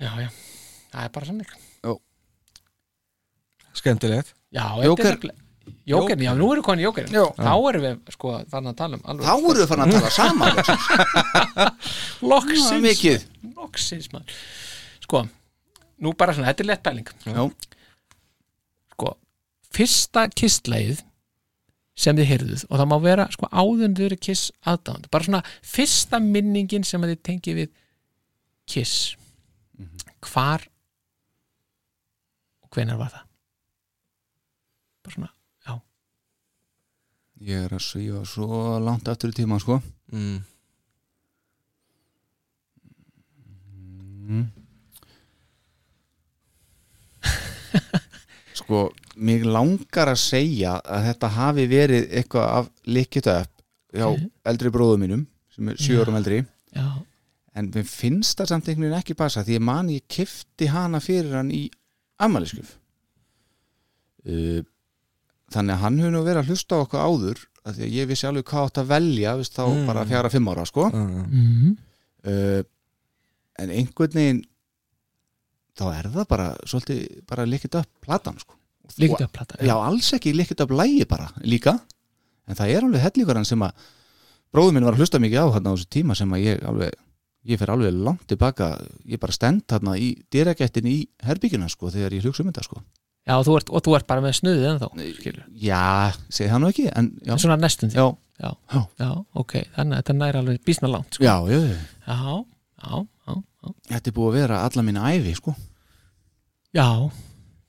Speaker 3: Já, já, það er bara sannig
Speaker 2: skemmtilegt
Speaker 3: Já,
Speaker 1: Joker.
Speaker 3: Jóker, já, nú erum við konið Jóker Þá erum við, sko, þannig að tala um alveg
Speaker 1: þá eru við farin að tala saman sko. loksins.
Speaker 3: Loksins
Speaker 1: Það er mikið
Speaker 3: loksins maður sko, nú bara svona, þetta er lett pæling
Speaker 1: Já.
Speaker 3: sko, fyrsta kissleið sem þið heyrðuð og það má vera sko áður en þið eru kiss aðdánd bara svona fyrsta minningin sem að þið tengið við kiss
Speaker 1: Mhm.
Speaker 3: hvar og hvenær var það bara svona
Speaker 1: ég er að svífa svo langt aftur í tíma sko
Speaker 2: mm.
Speaker 1: sko, mig langar að segja að þetta hafi verið eitthvað af likita upp hjá eldri bróðum mínum sem er sjö árum eldri
Speaker 3: já,
Speaker 1: en mér finnst það samt einhvern veginn ekki passa því ég man ég kifti hana fyrir hann í amaliskuf uh, þannig að hann hefur nú verið að hlusta á okkur áður af því að ég vissi alveg hvað átt að velja viðst, þá
Speaker 2: Mm.
Speaker 1: bara fjara fimm ára sko
Speaker 2: uh,
Speaker 1: uh, en einhvern veginn þá er það bara svolítið bara likit upp platan sko
Speaker 3: líkt
Speaker 1: Og-
Speaker 3: að plata
Speaker 1: já, alls ekki líkkit af lægi bara líka en það er alveg hellíkur hann sem að bróður minn var að hlusta mikið á þarna á þessu tíma sem að ég alveg ég fer alveg langt tilbaka ég bara stend þarna í dyragættin í herbyggina sko þegar ég hugsa um þetta sko
Speaker 3: já og, þú ert, og þú ert bara með snuðið en þá skilur,
Speaker 1: já, segi það nú ekki en já,
Speaker 3: svona næstum því
Speaker 1: já,
Speaker 3: já, ok, þannig að þetta næri alveg bísna langt sko.
Speaker 1: já, já, já.
Speaker 3: já, já, já, já
Speaker 1: þetta er búið að vera alla mín ævi sko
Speaker 3: Já,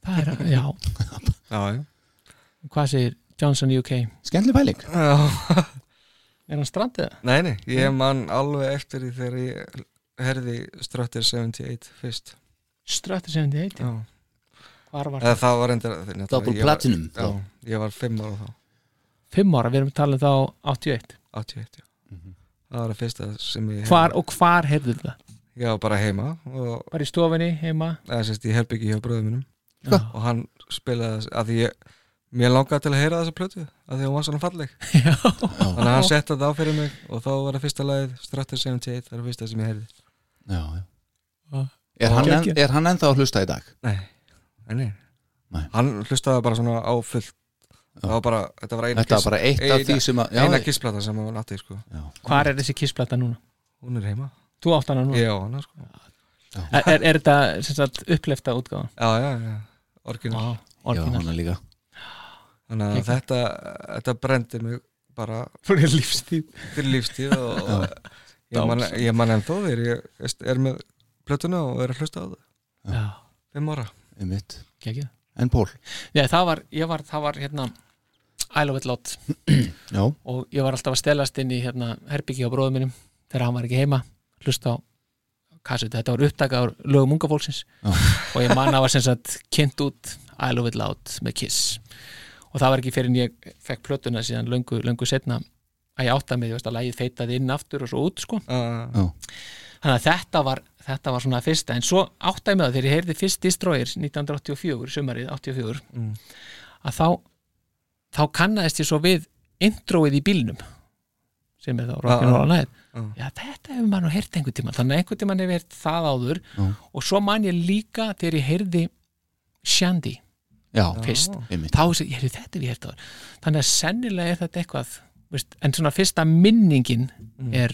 Speaker 3: það er, já
Speaker 2: já,
Speaker 3: Hvað segir Johnson UK?
Speaker 1: skemmtileg pæling
Speaker 2: já.
Speaker 3: Er hann strandið?
Speaker 2: nei, nei, ég man alveg eftir því þegar ég herði Strutter 78 fyrst
Speaker 3: Ströttur 78
Speaker 2: já.
Speaker 3: Hvar
Speaker 1: Eh.
Speaker 3: var það?
Speaker 2: eða það var endur
Speaker 1: Double platinum.
Speaker 2: já, ég var 5 ára þá,
Speaker 3: Fimm ára, við erum talað þá 81
Speaker 2: 81 já.
Speaker 1: Mhm.
Speaker 2: það var það fyrsta sem ég
Speaker 3: Hvar og hvar heyrðu það?
Speaker 2: ég var bara heima og
Speaker 3: Var í stofinni, heima?
Speaker 2: eða sérst ég herbyggi hjá bröðum minnum
Speaker 3: Já.
Speaker 2: og hann spilaði þess að því ég mér langaði til að heyra þessa plötu að því hún var svona falleg
Speaker 3: Já
Speaker 2: þannig að hann setti þetta á fyrir mig og þá var það fyrsta lagið Strutter 78 það var fyrsta sem ég heyrði
Speaker 1: já, já.
Speaker 3: Ah.
Speaker 1: Er, hann en,
Speaker 3: Geggjað.
Speaker 1: er hann ennþá að hlusta í dag?
Speaker 2: nei, nei, nei.
Speaker 1: Nei.
Speaker 2: hann hlustaði bara svona á fullt það var bara, þetta var eina,
Speaker 1: Þetta var bara eitt af
Speaker 2: eina-
Speaker 1: því sem að já,
Speaker 2: eina kissplata sem hann átti sko.
Speaker 3: Hvar er þessi kissplata núna?
Speaker 2: hún er heima,
Speaker 3: Þú átt hana núna?
Speaker 2: ég á hana sko.
Speaker 3: Er, er, er þetta sem sagt upplefta
Speaker 2: já,
Speaker 3: útgáðan?
Speaker 2: já, já, orginal
Speaker 3: Vá,
Speaker 1: já,
Speaker 3: orginal
Speaker 1: hann er líka
Speaker 2: þannig að
Speaker 3: Geggjað.
Speaker 2: þetta, þetta brendi mig bara
Speaker 3: Fyrir lífstíð
Speaker 2: til lífstíð og, og ég, man, ég man ennþá þegar ég er með plötuna og er að hlusta á það
Speaker 3: Já,
Speaker 2: fimm ára
Speaker 1: einmitt.
Speaker 3: gekkja
Speaker 1: En Pól,
Speaker 3: Nei, það var, ég var, það var hérna I love it lot
Speaker 1: já,
Speaker 3: og ég var alltaf að stelast inn í hérna, herbyggi á bróðum mínum þegar hann var ekki heima hlusta á kassetu, þetta var upptaka á lögum unga fólksins og ég manna var sem sagt kynnt út I love it loud með Kiss og það var ekki fyrir en ég fekk plötuna síðan löngu, löngu setna að ég átta mig, ég veist að lægið feitaði inn aftur og svo út sko,
Speaker 2: uh,
Speaker 3: þannig að þetta var þetta var svona fyrsta, en svo áttaði mig það þegar ég heyrði fyrst Destroyer 1984 sumarið 84
Speaker 2: Mm.
Speaker 3: að þá, þá kannaðist ég svo við introið í bílnum sem er þá Rock'n'Roll Night
Speaker 2: Já.
Speaker 3: já, þetta hefur maður nú heyrt einhvern tíma þannig að einhvern tíma hefur heyrt það áður
Speaker 1: Já.
Speaker 3: og svo man ég líka þegar ég heyrði Shandy
Speaker 1: Já,
Speaker 3: fyrst,
Speaker 1: einmitt.
Speaker 3: þá sé ég, heyrðu, þetta hef ég heyrt áður þannig að sennilega er þetta eitthvað veist, en svona fyrsta minningin
Speaker 2: Mm.
Speaker 3: er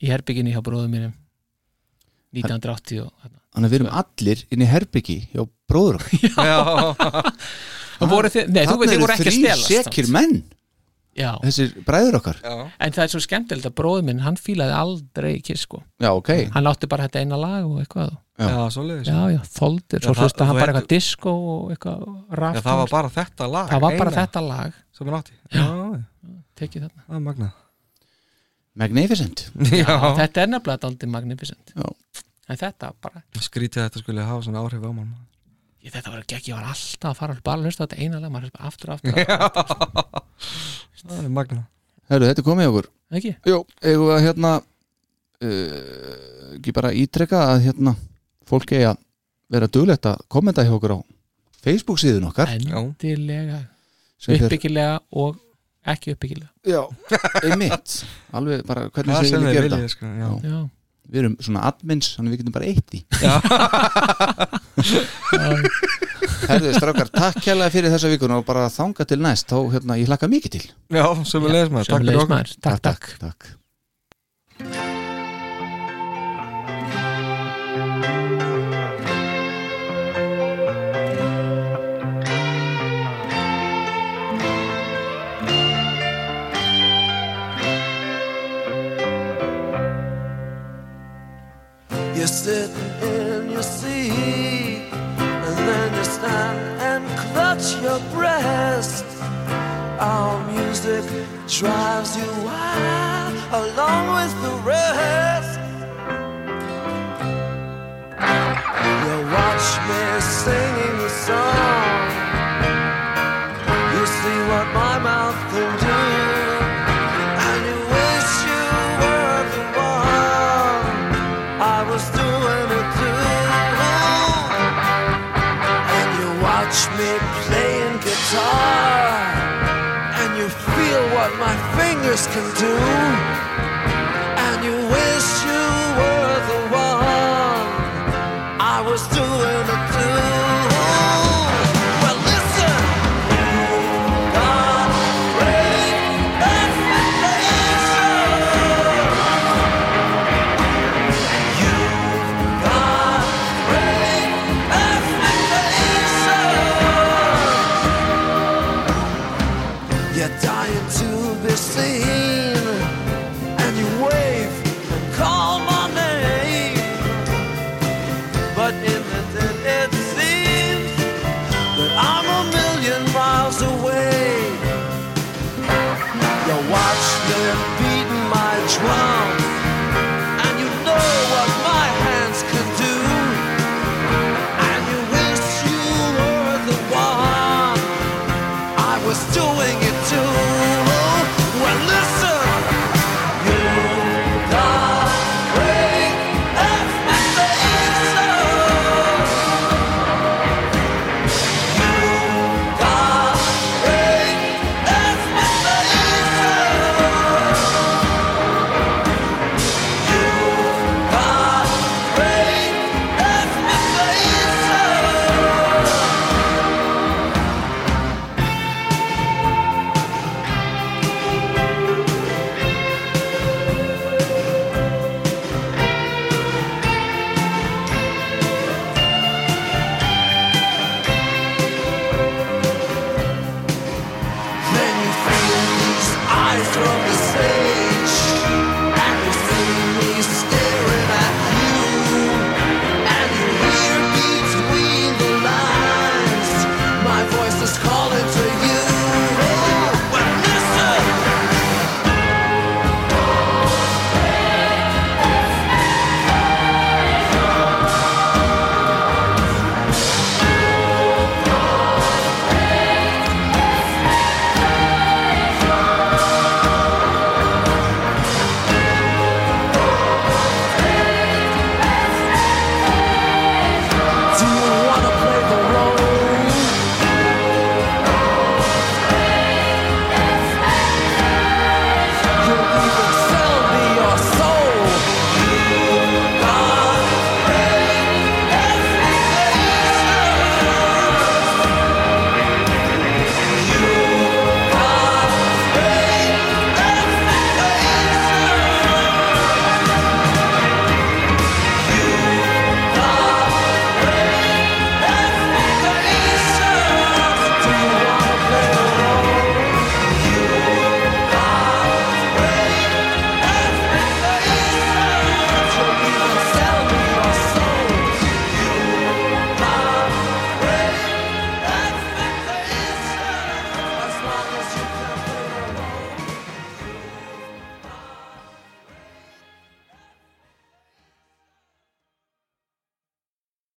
Speaker 3: í herbygginni hjá bróðum mínum 1980 og
Speaker 1: Þannig að við erum allir inn í herbyggi hjá bróður (laughs) okkar.
Speaker 3: Og voru þið, nei, þú
Speaker 1: Þarna
Speaker 3: veit, þið
Speaker 1: eru
Speaker 3: voru ekki að
Speaker 1: þrír
Speaker 3: stelast
Speaker 1: sekir menn,
Speaker 3: Já,
Speaker 1: þessir bræður okkar
Speaker 2: Já,
Speaker 3: en það er svo skemmtilegt að bróður minn, hann fílaði aldrei kiss, sko
Speaker 1: já ok
Speaker 3: Hann látti bara þetta eina lag og eitthvað
Speaker 2: já svoleiðis
Speaker 3: Já, já, þoldir,
Speaker 2: Já,
Speaker 3: svo
Speaker 2: það-
Speaker 3: hlusta hann
Speaker 2: þú
Speaker 3: bara
Speaker 2: veit-
Speaker 3: eitthvað disco og eitthvað
Speaker 2: Já,
Speaker 3: raft
Speaker 2: það var bara þetta lag
Speaker 3: Það var bara
Speaker 2: eina
Speaker 3: þetta lag,
Speaker 2: sem hann átti Já, já,
Speaker 3: tekið þarna
Speaker 2: það er magna
Speaker 1: Magnificent
Speaker 2: Já,
Speaker 3: Þetta er nefnilega daldi magnificent
Speaker 1: Já.
Speaker 3: En þetta bara,
Speaker 2: skrítið að þetta skulle hafa svona áhrif á mann
Speaker 3: ég, þetta var ekki, ég var alltaf að fara bara að hlusta á þetta eina lag, maður hlusta aftur og aftur,
Speaker 2: (laughs)
Speaker 3: aftur.
Speaker 2: Það er magna
Speaker 1: Hörru, þetta er komið hjá okkur
Speaker 3: ekki?
Speaker 1: Jó, eigum við að hérna uh, ekki bara ítreka að hérna fólk eigi að vera duglegt að kommenta hjá okkur á Facebook síðun okkar
Speaker 2: Nou.
Speaker 3: Endilega,
Speaker 1: sem fer-
Speaker 3: uppbyggilega og ekki uppbyggilega
Speaker 1: Já, einmitt Alveg bara hvernig
Speaker 2: Það
Speaker 1: sem við
Speaker 2: sem þið
Speaker 1: gerum
Speaker 2: viljið
Speaker 1: þetta
Speaker 2: sko Já,
Speaker 1: Já.
Speaker 3: Já,
Speaker 1: Við erum svona admins, þannig við getum bara eitt í (laughs) Herðu, strákar, takk kjærlega fyrir þessa vikuna og bara þanga til næst, þá hérna, ég hlakka mikið til
Speaker 2: já sem við leiðis maður Takk fyrir
Speaker 3: sömuleiðis,
Speaker 2: okkur
Speaker 3: maður. takk, takk.
Speaker 1: takk.
Speaker 9: You're sitting in your seat, and then you stand and clutch your breast. Our music drives you wild along with the rest. You watch me singing the song. You see what my mouth can do. And you wish you were the one I was doing it too. And you watch me playing guitar, and you feel what my fingers can do.